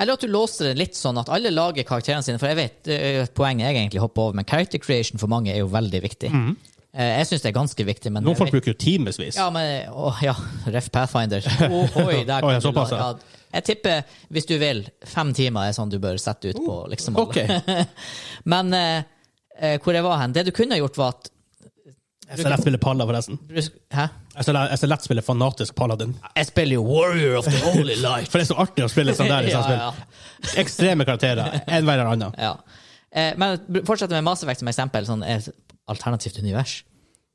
S2: Eller at du låser det litt sånn at alle lager karakterene sine, for jeg vet det er jo et poeng jeg egentlig hopper over, men character creation for mange er jo veldig viktig. Eh, Jeg syns det er ganske viktig, men
S1: Noen
S2: jeg
S1: folk
S2: vet-
S1: bruker jo timevis.
S2: Ja, men å, ja, Ref Pathfinder. Oh, oi, der
S1: Oi,
S2: kan du
S1: såpass,
S2: la-
S1: ja.
S2: ja. Jeg tipper, hvis du vil, fem timer er sånn du bør sette ut på liksom alle.
S1: OK.
S2: Men eh, eh, hvor jeg var hen? Det du kunne gjort, var at
S1: SLF spiller Palla, forresten.
S2: Hæ?
S1: SLF, SLF spiller fanatisk Paladin.
S2: Jeg spiller jo Warrior of the Holy Light.
S1: For det er så artig å spille sånn der. i
S2: Ja,
S1: sånn spill. Ekstreme karakterer. En hver eller annen.
S2: Ja. Eh, men br- fortsett med Mass Effect som eksempel, sånn et alternativt univers.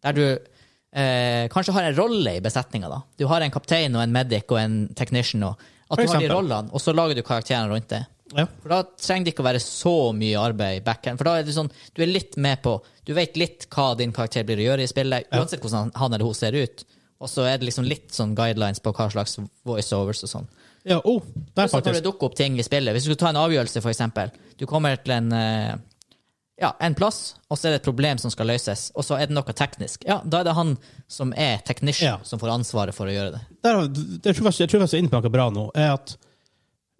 S2: Der du eh, kanskje har en rolle i besetninga. da. Du har en kaptein og en medic og en technician. Og, at
S1: For
S2: du har de
S1: eksempel.
S2: rollene, og så lager du karakterene rundt det.
S1: Ja.
S2: For da trenger det ikke å være så mye arbeid i backhand. For da er du sånn, du er litt med på Du vet litt hva din karakter blir å gjøre i spillet, uansett hvordan han eller hun ser ut. Og så er det liksom litt sånn guidelines på hva slags voiceovers og sånn.
S1: ja oh, der
S2: Så når
S1: faktisk.
S2: det dukker opp ting i spillet Hvis du skulle ta en avgjørelse, for eksempel. Du kommer til en eh, ja, en plass, og så er det et problem som skal løses, og så er det noe teknisk. Ja, da er det han som er technician,
S1: Ja.
S2: som får ansvaret for å gjøre det.
S1: der, har- jeg tror jeg, jeg tror jeg var så inne på noe bra nå, er at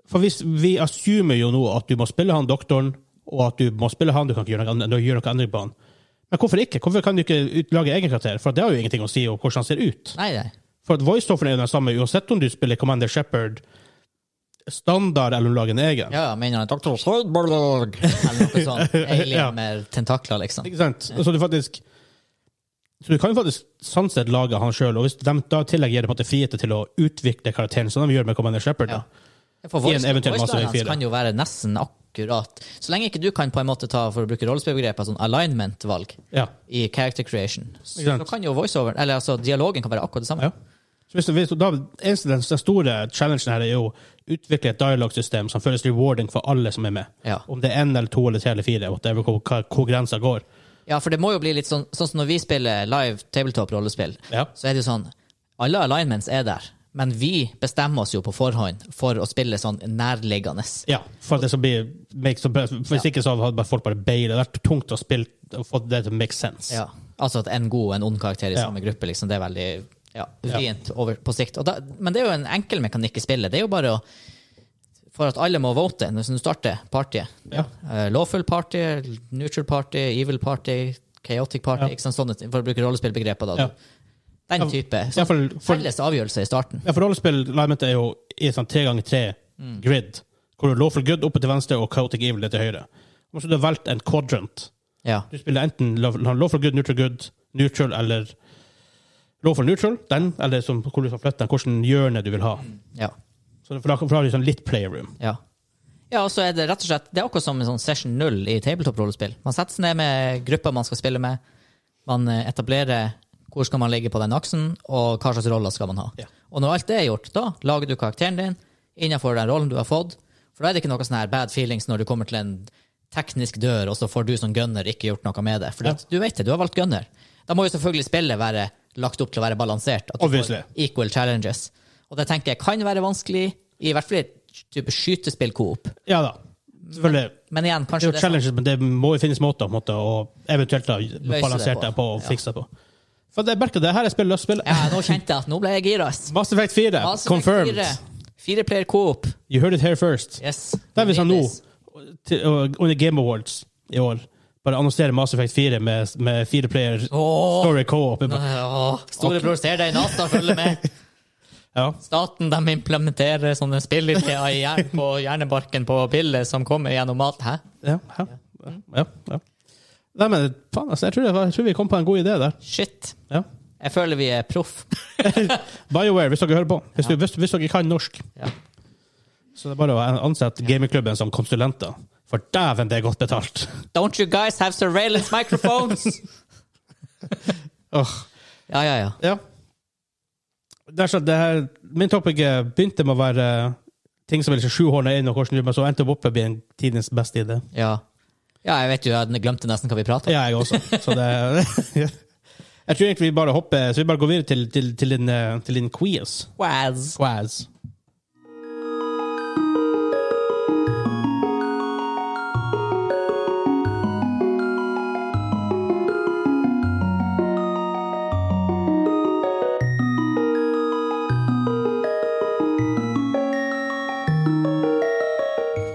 S1: For hvis vi assumer jo nå at du må spille han doktoren, og at du må spille han, du kan ikke gjøre noe, annet- du gjør noe endring på han. Men hvorfor ikke? Hvorfor kan du ikke ut- lage egen karakter? For det har jo ingenting å si om hvordan han ser ut.
S2: Nei, nei.
S1: For at voiceofferen er jo den samme uansett om du spiller Commander Shepherd standard eller om du lager en egen.
S2: Ja, ja, mener han Dr. Sydberg eller noe sånt. Alien
S1: Ja.
S2: med tentakler, liksom.
S1: Ikke sant? Så du faktisk så du kan jo faktisk sånn sett lage han sjøl, og hvis de da i tillegg gir det på en måte frihet til å utvikle karakteren, som de gjør med Commander Shepherd, da.
S2: For
S1: I en
S2: voice-
S1: eventuell
S2: voice
S1: Mass Effect
S2: lines
S1: 4.
S2: kan jo være nesten akkurat Så lenge ikke du kan på en måte ta, for å bruke rollespillbegrepet, sånn alignment-valg
S1: Ja.
S2: i character creation, så,
S1: Ikke sant.
S2: så kan jo voiceover, eller altså dialogen kan være akkurat det samme.
S1: Ja. Så hvis, hvis, da, eneste, den, den store challengen her er jo å utvikle et dialogsystem som føles rewarding for alle som er med.
S2: Ja.
S1: Om det er én eller to eller tre eller fire, whatever, hvor, hva- hvor grensa går.
S2: Ja, for det må jo bli litt sånn Sånn som når vi spiller live tabletop-rollespill,
S1: Ja.
S2: så er det jo sånn Alle alignments er der, men vi bestemmer oss jo på forhånd for å spille sånn nærliggende.
S1: Ja, for at det skal bli make, så, Hvis ikke så hadde bare folk bare beila. Det hadde vært tungt å spille og få det til å make sense.
S2: Ja. Altså at en god og en ond karakter i
S1: Ja.
S2: samme gruppe, liksom, det er veldig ja, vrient over på sikt. Og da, men det er jo en enkel mekanikk i spillet. Det er jo bare å For at alle må vote når du starter partyet.
S1: Ja.
S2: Eh, lawful party, neutral party, evil party, chaotic party,
S1: Ja.
S2: ikke sant, sånne ting, for å bruke rollespillbegreper. da.
S1: Ja.
S2: Den type. sånn
S1: Ja, for, for,
S2: Felles avgjørelse i starten.
S1: ja, for rollespill Lament er jo i et sånn tre ganger tre
S2: Mm.
S1: grid, hvor du lawful good oppe til venstre og chaotic evil til høyre. Og så har du valgt en quadrant.
S2: Ja.
S1: Du spiller enten law- lawful good, neutral good, neutral eller lawful neutral, den, eller som, hvor du skal flytte den, hvilket hjørne du vil ha.
S2: Ja.
S1: Så for da, for da har du sånn litt playroom.
S2: ja. Ja, og så er Det rett og slett, det er akkurat som en sånn session null i tabletop-rollespill. Man setter seg ned med gruppa man skal spille med. Man eh, etablerer hvor skal man ligge på den aksen, og hva slags roller skal man ha.
S1: Ja.
S2: Og når alt det er gjort, da lager du karakteren din innenfor den rollen du har fått. For da er det ikke noe sånn her bad feelings når du kommer til en teknisk dør, og så får du som gunner ikke gjort noe med det. For at du vet det, du har valgt gunner. Da må jo selvfølgelig spillet være lagt opp til å være balansert. At du
S1: Obviously.
S2: får equal challenges. Og det tenker jeg kan være vanskelig i hvert fall i et type skytespill-coop.
S1: Ja da. Selvfølgelig.
S2: Men igjen,
S1: Det er
S2: kanskje
S1: jo
S2: det er sånn.
S1: challenges, men det må jo finnes måter på en måte, å eventuelt da, balansere
S2: på.
S1: det på og
S2: Ja.
S1: fikse det på. For det, merker du, det her er spill løs spill.
S2: Ja, nå kjente jeg at nå ble jeg gira. ass.
S1: Mass Effect 4,
S2: Mass Effect
S1: confirmed.
S2: fire. Fire player coop.
S1: You heard it here first.
S2: Yes.
S1: Der vi sa nå,
S2: Nydelig.
S1: til, og- under Game Awards i år, bare annonsere Mass Effect 4 med, med fire player
S2: Åh,
S1: story co-op.
S2: åh, Storebror ser deg i natta, følger med.
S1: Ja.
S2: Staten de implementerer sånne spillideer i hjernen på hjernebarken på piller som kommer gjennom mat. Hæ?
S1: Ja, ja, ja, ja. Nei, men faen, altså, jeg tror, det var, jeg tror vi kom på en god idé der.
S2: Shit.
S1: Ja.
S2: Jeg føler vi er proff.
S1: BioWare, hvis dere hører på. Hvis, du, hvis, hvis dere kan norsk,
S2: Ja.
S1: så det er bare å ansette gamingklubben som konsulenter. For dæven, det er godt betalt!
S2: Don't you guys have surveillance microphones?
S1: Åh,
S2: ja, ja, ja.
S1: ja. Det er sånn, det her, min topic eh, begynte med å være eh, ting som ville sjuhårne inn, og hvordan du, men så endte det opp med å bli en tidens beste idé.
S2: Ja, ja jeg vet jo, jeg glemte nesten hva vi pratet om.
S1: Ja, jeg også. Så det Jeg tror egentlig vi bare hopper Så vi bare går videre til, til, til, din, eh, til din quiz.
S2: Waz.
S1: Quiz.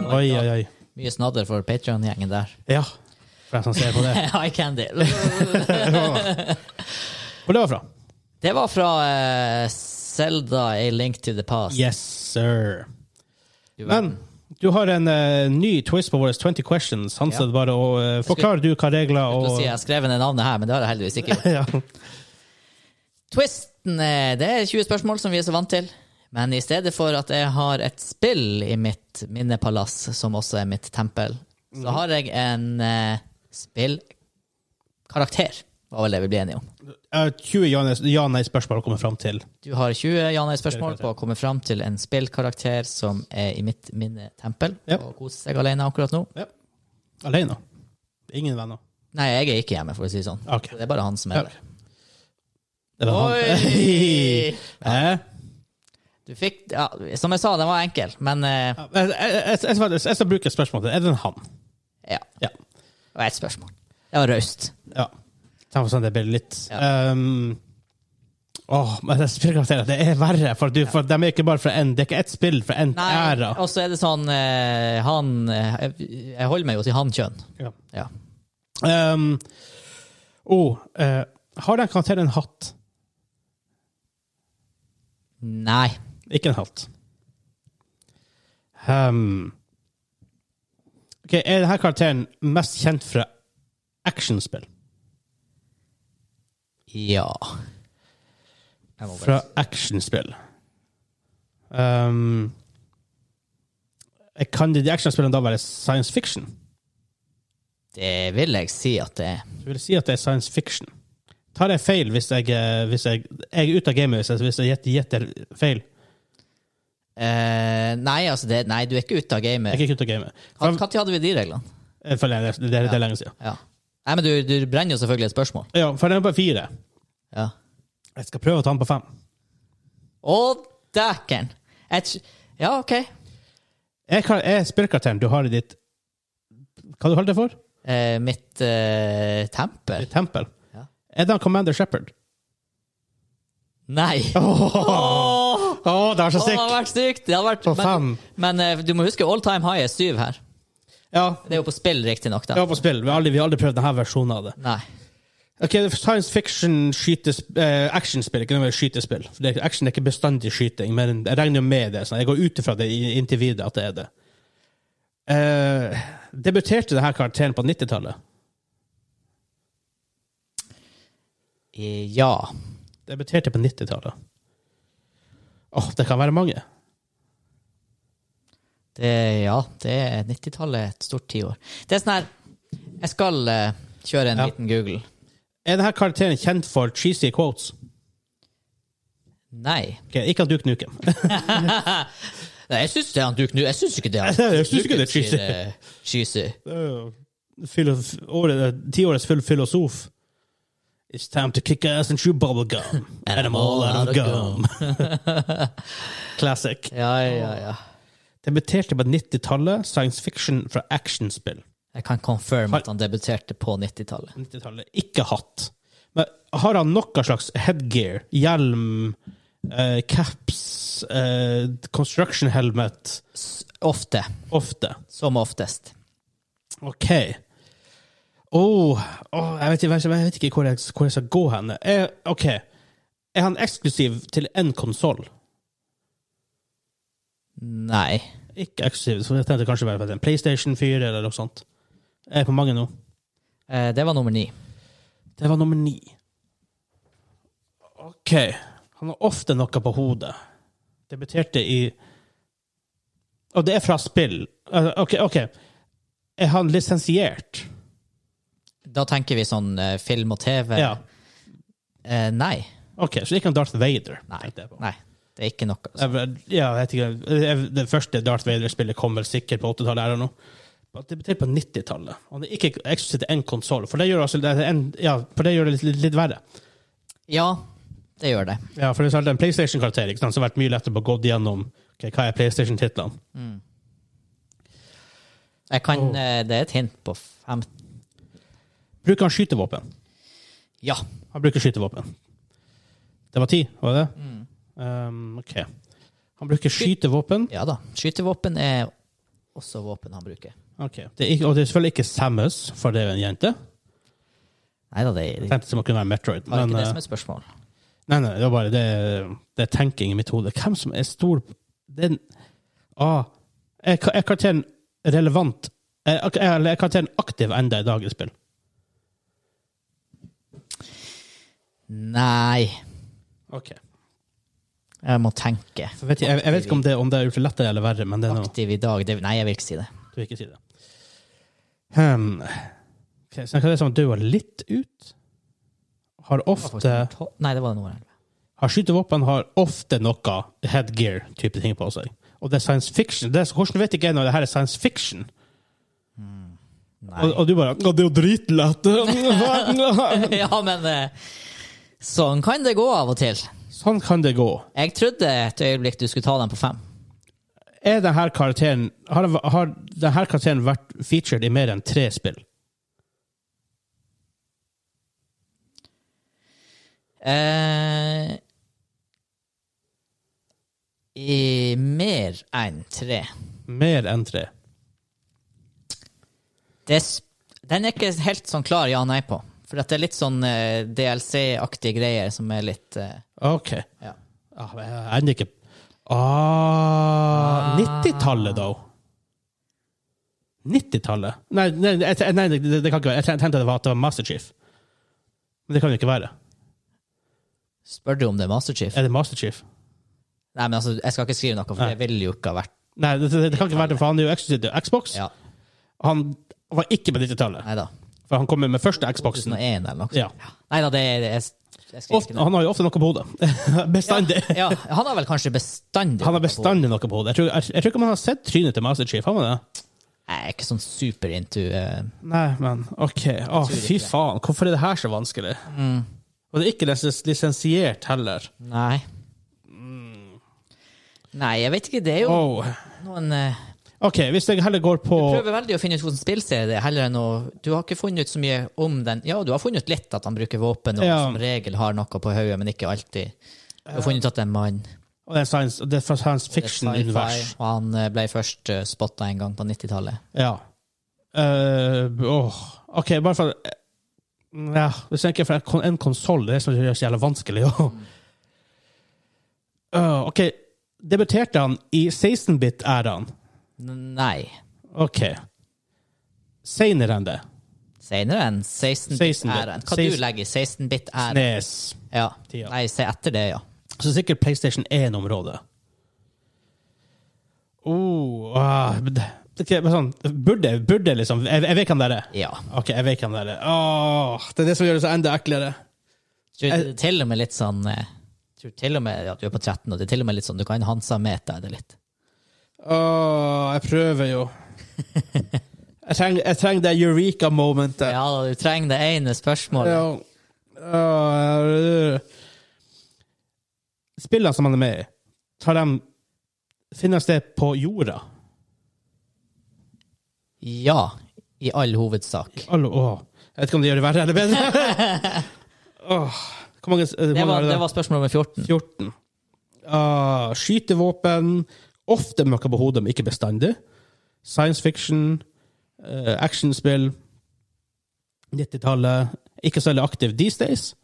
S1: Oi, oi, oi.
S2: Mye snadder for Patreon-gjengen der.
S1: Ja. For jeg som ser på det.
S2: Eye candy.
S1: Hvor det var fra?
S2: Det var fra eh, Zelda A Link to the Past.
S1: Yes, sir.
S2: Du vet.
S1: Men du har en eh, ny twist på våre 20 questions. Han
S2: Ja.
S1: said bare å eh, forklare du hva regler
S2: Til å
S1: og
S2: si, jeg har skrevet ned navnet her, men det har jeg heldigvis ikke. gjort.
S1: ja.
S2: Twisten eh, det er 20 spørsmål som vi er så vant til. Men i stedet for at jeg har et spill i mitt minnepalass, som også er mitt tempel,
S1: Mhm.
S2: så har jeg en eh, spillkarakter. Var vel det vi ble enige om.
S1: Eh, 20 ja- ja-nei-spørsmål å komme fram til.
S2: Du har 20 ja-nei-spørsmål
S1: Spillkarakter.
S2: på å komme fram til en spillkarakter som er i mitt minnetempel,
S1: Ja.
S2: og koser seg alene akkurat nå.
S1: Ja. Alene. Ingen venner.
S2: Nei, jeg er ikke hjemme, for å si det sånn.
S1: Ok.
S2: Det er bare han som er
S1: Ok.
S2: der.
S1: Det var
S2: Oi!
S1: han. Eh,
S2: Du fikk, ja, som jeg sa, den var enkel, men eh,
S1: ja, jeg, jeg, jeg, jeg, skal- jeg skal bruke spørsmålet. Er det en han?
S2: ja.
S1: Ja.
S2: Det var ett spørsmål. Det var raust.
S1: ja. Ta for sånn det blir litt
S2: Ja.
S1: um, Åh, men det spillkarakterer, det er verre, for, du, for de er ikke bare fra en, det er ikke ett spill fra én
S2: Nei,
S1: æra.
S2: og så er det sånn eh, Han eh, Jeg holder meg jo til han-kjønn.
S1: Ja.
S2: Ja.
S1: Um, oh, eh, har den karakteren en hatt?
S2: Nei.
S1: Ikke en hatt. Um, ok, er denne karakteren mest kjent fra actionspill?
S2: Ja. Jeg må bare-
S1: Fra actionspill. Um, kan de de actionspillene da være science fiction?
S2: Det vil jeg si at det er.
S1: Så vil jeg si at det er science fiction. Tar jeg feil hvis jeg, eh, hvis jeg, jeg er ute av gamet hvis jeg- hvis jeg gjetter- gjetter feil?
S2: Eh, nei, altså det, nei, du er ikke ute av
S1: Jeg
S2: gamet.
S1: er ikke ute av gamet.
S2: Når hadde vi de reglene?
S1: For det, det, det er lenge siden.
S2: Ja. Nei, men du, du brenner jo selvfølgelig et spørsmål.
S1: Ja, for den er på fire.
S2: Ja.
S1: Jeg skal prøve å ta den på fem.
S2: Å, dæken! Jeg tr- Ja, OK.
S1: Jeg, kan, jeg er spillkarakteren du har i ditt Hva du holder det for?
S2: Eh, mitt eh, tempel?
S1: Ditt tempel.
S2: Ja.
S1: Er det han Commander Shepherd?
S2: Nei!
S1: Å,
S2: Åh!
S1: det er så
S2: Åh, det hadde
S1: sikt!
S2: vært sykt! Det hadde vært,
S1: På
S2: men
S1: fem.
S2: men eh, du må huske all time high er syv her.
S1: Ja,
S2: Det er jo på spill, riktignok.
S1: det var på spill. Vi har aldri, vi har aldri prøvd denne versjonen av det.
S2: Nei.
S1: Ok, Science fiction, skytes, eh, actionspill, ikke noe skytespill. For det, action er ikke bestandig skyting, men jeg regner jo med det. Sånn. Jeg går ut ifra det i- inntil videre at det er det. Eh, debuterte denne karakteren på 90-tallet?
S2: Eh, Ja.
S1: Debuterte på 90-tallet. Åh, det kan være mange.
S2: Det, ja, det er 90-tallet er et stort tiår. Det er sånn her Jeg skal eh, kjøre en
S1: Ja.
S2: liten Google.
S1: Er denne karakteren kjent for cheesy quotes?
S2: Nei.
S1: Ok, ikke at du knuker.
S2: Nei, jeg syns det er han Duke Nu. Jeg syns ikke det. er
S1: Jeg syns ikke det er cheesy.
S2: eh, cheesy.
S1: Filof- året- Tiårets full filosof. It's time to kick ass and chew bubble gum. And I'm all out of gum. Classic.
S2: Ja, ja, ja.
S1: Debuterte på 90-tallet, science fiction fra actionspill.
S2: Jeg kan confirm at han debuterte på 90-tallet.
S1: 90-tallet, ikke hatt. Men har han noe slags headgear? Hjelm, eh, caps, eh, construction helmet?
S2: S- Ofte.
S1: Ofte.
S2: Som oftest.
S1: OK. Åh, åh, jeg, vet, ikke- jeg vet ikke hvor jeg, hvor jeg skal gå hen. Er, OK. Er han eksklusiv til én konsoll?
S2: Nei.
S1: Ikke eksklusiv, så jeg tenkte kanskje bare på en PlayStation 4 eller noe sånt. Jeg er på mange nå.
S2: Eh, det var nummer ni.
S1: Det var nummer ni. OK. Han har ofte noe på hodet. Debuterte i Og det er fra spill. Eh, OK. ok. Er han lisensiert?
S2: Da tenker vi sånn eh, film og TV.
S1: Ja.
S2: Eh, nei.
S1: OK, så ikke han Darth Vader.
S2: Nei.
S1: tenkte jeg på.
S2: nei. Det er ikke noe. altså.
S1: Jeg vet- Ja, jeg vet ikke. Jeg- Det første Darth Vader-spillet kom vel sikkert på 80-tallet eller noe. Han debuterte på 90-tallet. Han er ikke eksklusiv til én konsoll, for det gjør altså- det er en- ja, for det gjør det litt, litt verre.
S2: Ja, det gjør det.
S1: Ja, for hvis det er sånn en PlayStation-karakter, ikke sant, så har det vært mye lettere å gå gjennom ok, hva er PlayStation-titlene.
S2: Jeg kan,
S1: Åh.
S2: eh, det er et hint på fem.
S1: Bruker han skytevåpen?
S2: Ja.
S1: Han bruker skytevåpen. Det var ti, var det det? Um, OK. Han bruker skytevåpen.
S2: ja da. Skytevåpen er også våpen han bruker.
S1: Ok. Det er ikke, og det er selvfølgelig ikke Samus, for det er jo en jente.
S2: Nei da, det er
S1: Jeg tenkte det kunne være Metroid.
S2: Var
S1: Men,
S2: ikke det
S1: eh,
S2: som et spørsmål?
S1: nei, nei, det er bare det, det er tenking i mitt hode. Hvem som er stor den, ah, er, ka- er karakteren relevant? Er, er, er karakteren aktiv enda i dagens spill?
S2: Nei,
S1: Ok.
S2: jeg må tenke.
S1: For vet jeg, jeg, jeg vet ikke om det, om det er gjort det lettere eller verre, men det er noe
S2: Aktiv i dag det, Nei, jeg vil ikke si det.
S1: du vil ikke si det. Hmm. Ok, så kan det som dør litt ut. Har ofte
S2: Tol- Nei, det var nummer 11.
S1: Har skytevåpen har ofte noe headgear-type ting på seg. Og det er science fiction. Det er, så- hvordan vet ikke jeg når det her er science fiction?
S2: Nei.
S1: Og, og du bare «Ja, Det er jo dritlett!
S2: ja, men eh, sånn kan det gå av og til.
S1: sånn kan det gå.
S2: Jeg trodde et øyeblikk du skulle ta den på fem.
S1: Er denne karakteren Har, har denne karakteren vært featured i mer enn tre spill?
S2: Eh, I mer enn tre.
S1: Mer enn tre.
S2: Det, er s- den er ikke helt sånn klar ja-nei på. For at det er litt sånn eh, DLC-aktige greier som er litt eh,
S1: OK.
S2: ja.
S1: Ah, men jeg ender ikke ah, 90-tallet, da? 90-tallet? Nei, nei, jeg, te- nei det, det kan ikke være. Jeg tenkte det var, at det var Master Chief. Men det kan jo ikke være.
S2: Spør du om det er Master Chief?
S1: Er det Master Chief?
S2: Nei, men altså, jeg skal ikke skrive noe, for
S1: Nei.
S2: det ville jo ikke ha vært
S1: Nei, det, det, det kan ikke være det, for han er jo eksklusiv til Xbox.
S2: ja,
S1: Han var ikke på 90-tallet,
S2: Nei da.
S1: for han kom med første Xboxen.
S2: 2001 eller noe sånt.
S1: Ja.
S2: Nei da, det er jeg, jeg skriver
S1: Ofte,
S2: ikke noe.
S1: han har jo ofte noe på hodet. Bestandig.
S2: Ja, han har vel kanskje bestandig
S1: Han har bestandig noe på hodet. Jeg tror, jeg, jeg tror ikke man har sett trynet til Master Chief. Har man det?
S2: Jeg er ikke sånn super into eh,
S1: Nei, men OK. Å, fy faen. Hvorfor er det her så vanskelig?
S2: Mm.
S1: Og det er ikke lisens- lisensiert heller.
S2: Nei.
S1: Mm.
S2: Nei, jeg vet ikke. Det er jo
S1: Oh.
S2: noen eh,
S1: OK, hvis jeg heller går på
S2: Prøver veldig å finne ut hvordan spillserie det er, heller enn å Du har ikke funnet ut så mye om den Ja, du har funnet ut litt at han bruker våpen, og
S1: Ja.
S2: som regel har noe på hodet, men ikke alltid. Du har funnet ut at det er en mann.
S1: og det er science, det er fra science
S2: Det er
S1: fiction-univers.
S2: sci-fi, Og han eh, ble først spotta en gang på 90-tallet.
S1: Ja. Eh, åh. OK, bare for ja, Hvis jeg ikke er fra en konsoll, det er det som gjør det så jævla vanskelig. å-
S2: Mm.
S1: Åh, OK, debuterte han i 16-bit-æraen?
S2: N- Nei.
S1: OK. Seinere enn det.
S2: Senere enn 16-bit-æraen.
S1: 16-bit.
S2: Hva du legger i 16-bit-æraen?
S1: Nes.
S2: Ja.
S1: Tida.
S2: Nei, se etter det, ja.
S1: Så sikkert PlayStation 1-området. Oh, ah, det, det er sånn, burde, burde liksom Jeg, jeg vet hvem det er.
S2: Ja.
S1: Ok, jeg vet hvem det er. Åh, det er det som gjør det så enda eklere.
S2: Tror det er til og med litt sånn eh, tror til og med at du er på 13, og det er til og med litt sånn du kan Hansa-meta det litt.
S1: Åh, jeg prøver jo. Jeg trenger, jeg trenger det eureka-momentet.
S2: Ja, du trenger det ene spørsmålet.
S1: Ja. Øh, Spillene som han er med i, tar de Finnes det på jorda?
S2: Ja, i all hovedsak.
S1: Hallo, åh. Jeg vet ikke om det gjør det verre eller bedre. åh, hvor mange, eh, hvor
S2: Det
S1: mange er
S2: var,
S1: det?
S2: det var spørsmål nummer 14.
S1: 14. Ah, skytevåpen. Ofte med noe på hodet, men ikke bestandig. Science fiction. eh, actionspill. 90-tallet. Ikke så veldig aktiv these days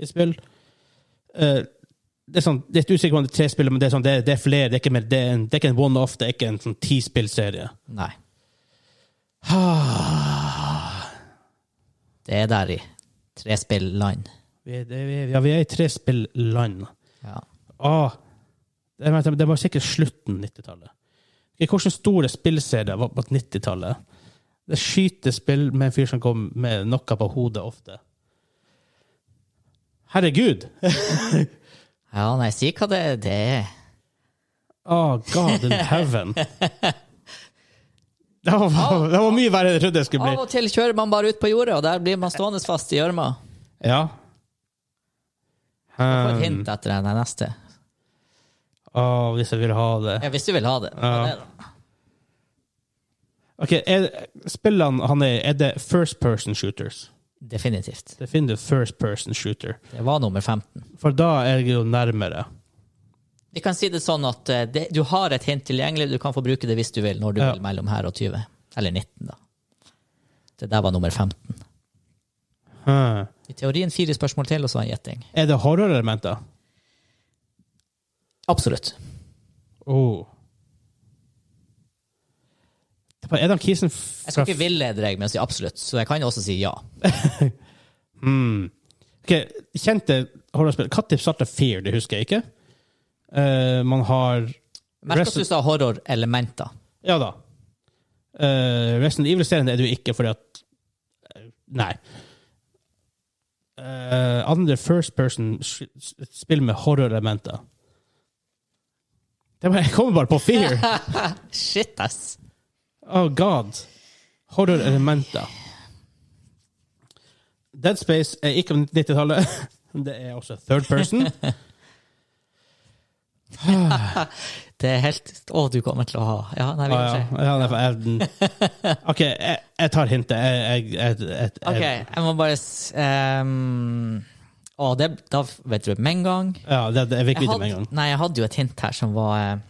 S1: i spill. Eh, det er sånn, det er litt usikker på om det er tre spill, men det er, sånn, det er, det er flere. Det er ikke, mer, det er en, det er ikke en one-off, det er ikke en sånn ti-spill-serie.
S2: Nei. Det er der i trespilland.
S1: Vi er, det, vi er, ja, vi er i tre spillland.
S2: Ja.
S1: Ah, jeg mente, det var sikkert slutten 90-tallet. Ikke Hvilke store spillserier var på 90-tallet? Det er skytespill med en fyr som kom med noe på hodet ofte. Herregud!
S2: ja, nei, si hva det er. Det er
S1: Oh, God in heaven. Det var, det var mye verre enn jeg trodde det skulle
S2: Av
S1: bli.
S2: og til kjører man bare ut på jordet, og der blir man stående fast i gjørma.
S1: Ja.
S2: Få et
S1: Um,
S2: hint etter den neste.
S1: å, Ah, hvis jeg vil ha det.
S2: Ja, hvis du vil ha det.
S1: Ja.
S2: Det er det.
S1: Ok, er, Spillene han er Er det first person shooters?
S2: Definitivt.
S1: Det finner du first person shooter.
S2: Det var nummer 15.
S1: For da er jeg jo nærmere.
S2: Vi kan si det sånn at eh, det, du har et hint tilgjengelig, du kan få bruke det hvis du vil, når du
S1: Ja.
S2: vil mellom her og 20. Eller 19, da. Det der var nummer 15.
S1: Hm.
S2: I teorien fire spørsmål til, og så en gjetting.
S1: Er det horrorelementer?
S2: Absolutt.
S1: Oh. Er det han kisen
S2: Jeg
S1: fra
S2: skal ikke villede deg med å si absolutt, så jeg kan jo også si ja.
S1: mm. Ok, Kjente horrorspill. Når starta Fear, det husker jeg ikke. Eh, man har
S2: Merk at
S1: Resident-
S2: du sa horrorelementer.
S1: Ja da. Uh, Resident Evil-serien er det jo ikke fordi at Nei. Eh, andre first person-spill med horrorelementer. Det var- Jeg kommer bare på Fear!
S2: Shit, ass.
S1: Oh god. Horror-elementer. Dead Space er ikke om 90-tallet. Det er også third person.
S2: Det er helt Å, du kommer til å ha Ja, nei, vi
S1: Ah,
S2: kan
S1: ja.
S2: se.
S1: Ja, derfor er den- OK, jeg, jeg tar hintet. Jeg, jeg, jeg, jeg, jeg,
S2: OK, jeg må bare s- ehm, Å, det, da vet du med en gang.
S1: Ja, det, det, jeg fikk
S2: Jeg
S1: vite med en
S2: hadde,
S1: gang.
S2: nei, jeg hadde jo et hint her som var eh,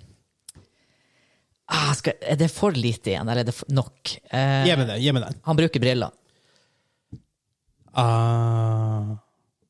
S2: ah, skal, Er det for lite igjen, eller er det for, nok? Eh,
S1: Gi meg den. Gi meg den.
S2: han bruker briller.
S1: Ah,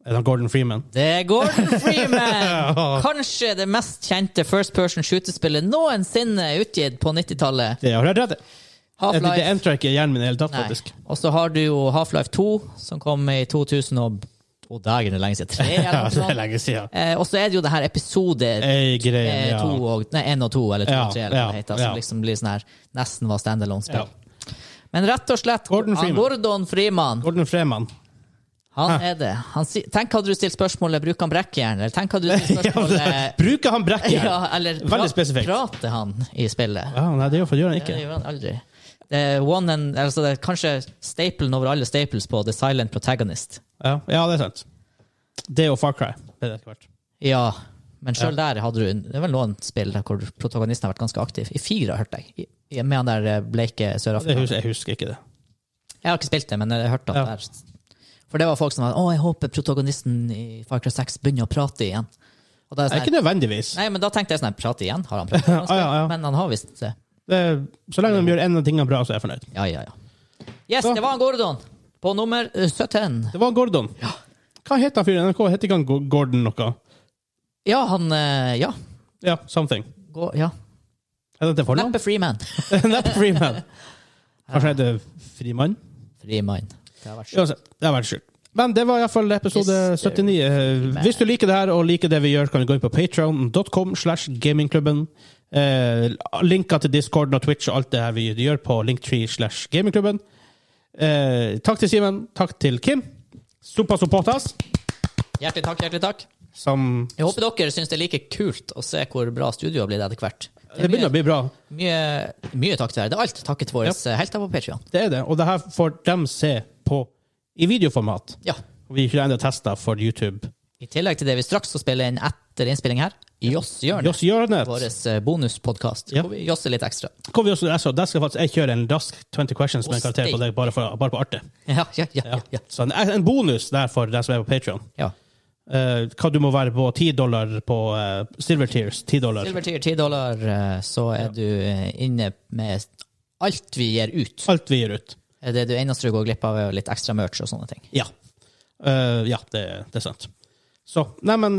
S1: er det Gordon Freeman?
S2: Det er Gordon Freeman!
S1: Ja.
S2: Kanskje det mest kjente first person shootespillet noensinne utgitt på 90-tallet.
S1: Det har jeg rett i. Det, det
S2: Half-Life.
S1: entrer ikke hjernen min i det hele tatt,
S2: Nei.
S1: faktisk.
S2: Og så har du jo Half-Life 2, som kom i 2000 og Å, dagen er lenge siden. Tre, eller
S1: Ja,
S2: noe
S1: det er
S2: sånt.
S1: lenge siden.
S2: Eh, og så er det jo det her episode
S1: Ei greie,
S2: eh,
S1: ja.
S2: to og, nei, en og to, eller to
S1: Ja,
S2: og tre, eller hva
S1: ja,
S2: det heter, som
S1: ja.
S2: liksom blir sånn her nesten var
S1: Ja.
S2: standalone-spill. Men rett og slett
S1: Gordon
S2: han
S1: Freeman.
S2: Gordon Freeman.
S1: Gordon Freeman.
S2: Han er det. Han, si- tenk hadde du stilt spørsmålet 'bruker han brekkjern', eller tenk hadde du stilt
S1: Ja, det-
S2: spørsmålet
S1: Bruker han brekkjern?
S2: ja, eller pra,
S1: Veldig spesifikt.
S2: prater han i spillet?
S1: Ja, nei, det gjør det gjør han
S2: Det
S1: ikke.
S2: gjør han aldri. Det er, one and, altså det er kanskje stapelen over alle staples på The Silent Protagonist.
S1: Ja, ja, det er sant. Det og Far Cry. Det er det ikke vært.
S2: Ja, men sjøl der hadde du Det er vel noen spill der hvor protagonisten har vært ganske aktiv. I fire, hørte jeg. I- i- Med han der eh, bleike
S1: Jeg
S2: sørafrikaner.
S1: husker, jeg husker ikke det.
S2: Jeg har ikke spilt det, men jeg har hørt at
S1: Ja.
S2: det er For det var folk som var Å, jeg håper protagonisten i Far Cry 6 begynner å prate igjen. Og
S1: Altså,
S2: da er
S1: Nei,
S2: jeg
S1: ikke
S2: sånn, her-
S1: nødvendigvis.
S2: nei, men da tenkte jeg sånn her, Prate igjen? Har han pratet?
S1: Ja, ja, ja.
S2: Men han har visst det.
S1: Det, er- så lenge de gjør en av tingene bra, så er jeg fornøyd.
S2: Ja, ja, ja. Yes,
S1: Så.
S2: det var han Gordon! På nummer eh, 17.
S1: Det var Gordon. Hva het han fyren? i NRK het ikke han Go- Gordon noe?
S2: Ja, han eh, Ja.
S1: Ja, something.
S2: Gå, ja.
S1: Er det til fornavn?
S2: Neppe Freeman.
S1: Neppe Freeman. Kanskje han heter Frimann?
S2: Freeman. Det har vært sjukt.
S1: Uansett, det har vært sjukt. Men det var iallfall episode
S2: Yes, det er
S1: 79. Eh, Hvis du liker det her og liker det vi gjør, kan du gå inn på patreon.com slash gamingklubben. Eh, linker til Discorden og Twitch og alt det her vi gjør på linktree slash gamingklubben. Eh, takk til Simen. Takk til Kim. Sopa sopotas,
S2: Hjertelig takk, hjertelig takk.
S1: som
S2: Jeg håper dere syns det er like kult å se hvor bra studioet har blitt etter hvert.
S1: Det begynner å bli bra.
S2: mye, mye takk til dere. Det er alt takket våre eh, helter på Patreon.
S1: Det er det. Og det her får dem se på i videoformat.
S2: Ja.
S1: Vi har ikke ennå testa for YouTube.
S2: I tillegg til det vi straks skal spille inn etter innspilling her, Joss Hjørnet,
S1: Joss Hjørnet.
S2: vår bonuspodkast,
S1: Ja.
S2: hvor vi josser litt ekstra.
S1: Kom vi også, altså, der skal faktisk jeg kjøre en rask 20 questions med en karakter på deg, bare, for, bare på artig.
S2: Ja, ja, ja.
S1: Ja.
S2: ja,
S1: Så en, en bonus der for deg som er på Patreon. Eh,
S2: ja.
S1: hva du må være på 10 dollar på eh, Silver Tears. 10 dollar.
S2: Silver Tier 10 dollar, eh, så er du eh, inne med alt vi gir ut.
S1: Alt vi gir ut.
S2: Det er det eneste du går glipp av, er jo litt ekstra merch og sånne ting.
S1: Ja. Eh, ja, det, det er sant. Så neimen,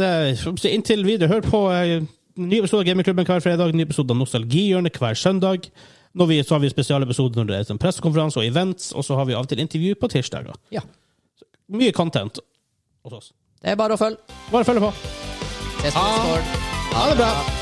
S1: inntil videre, hør på eh, ny episode av Gamingklubben hver fredag, ny episode av Nostalgihjørnet hver søndag. Når vi, så har vi spesialepisoder når det er sånn pressekonferanse og events, og så har vi av og til intervju på tirsdager.
S2: Ja.
S1: mye content hos oss.
S2: Det er bare å følge.
S1: Bare følg på.
S2: Ses på Discord.
S1: Ha det bra!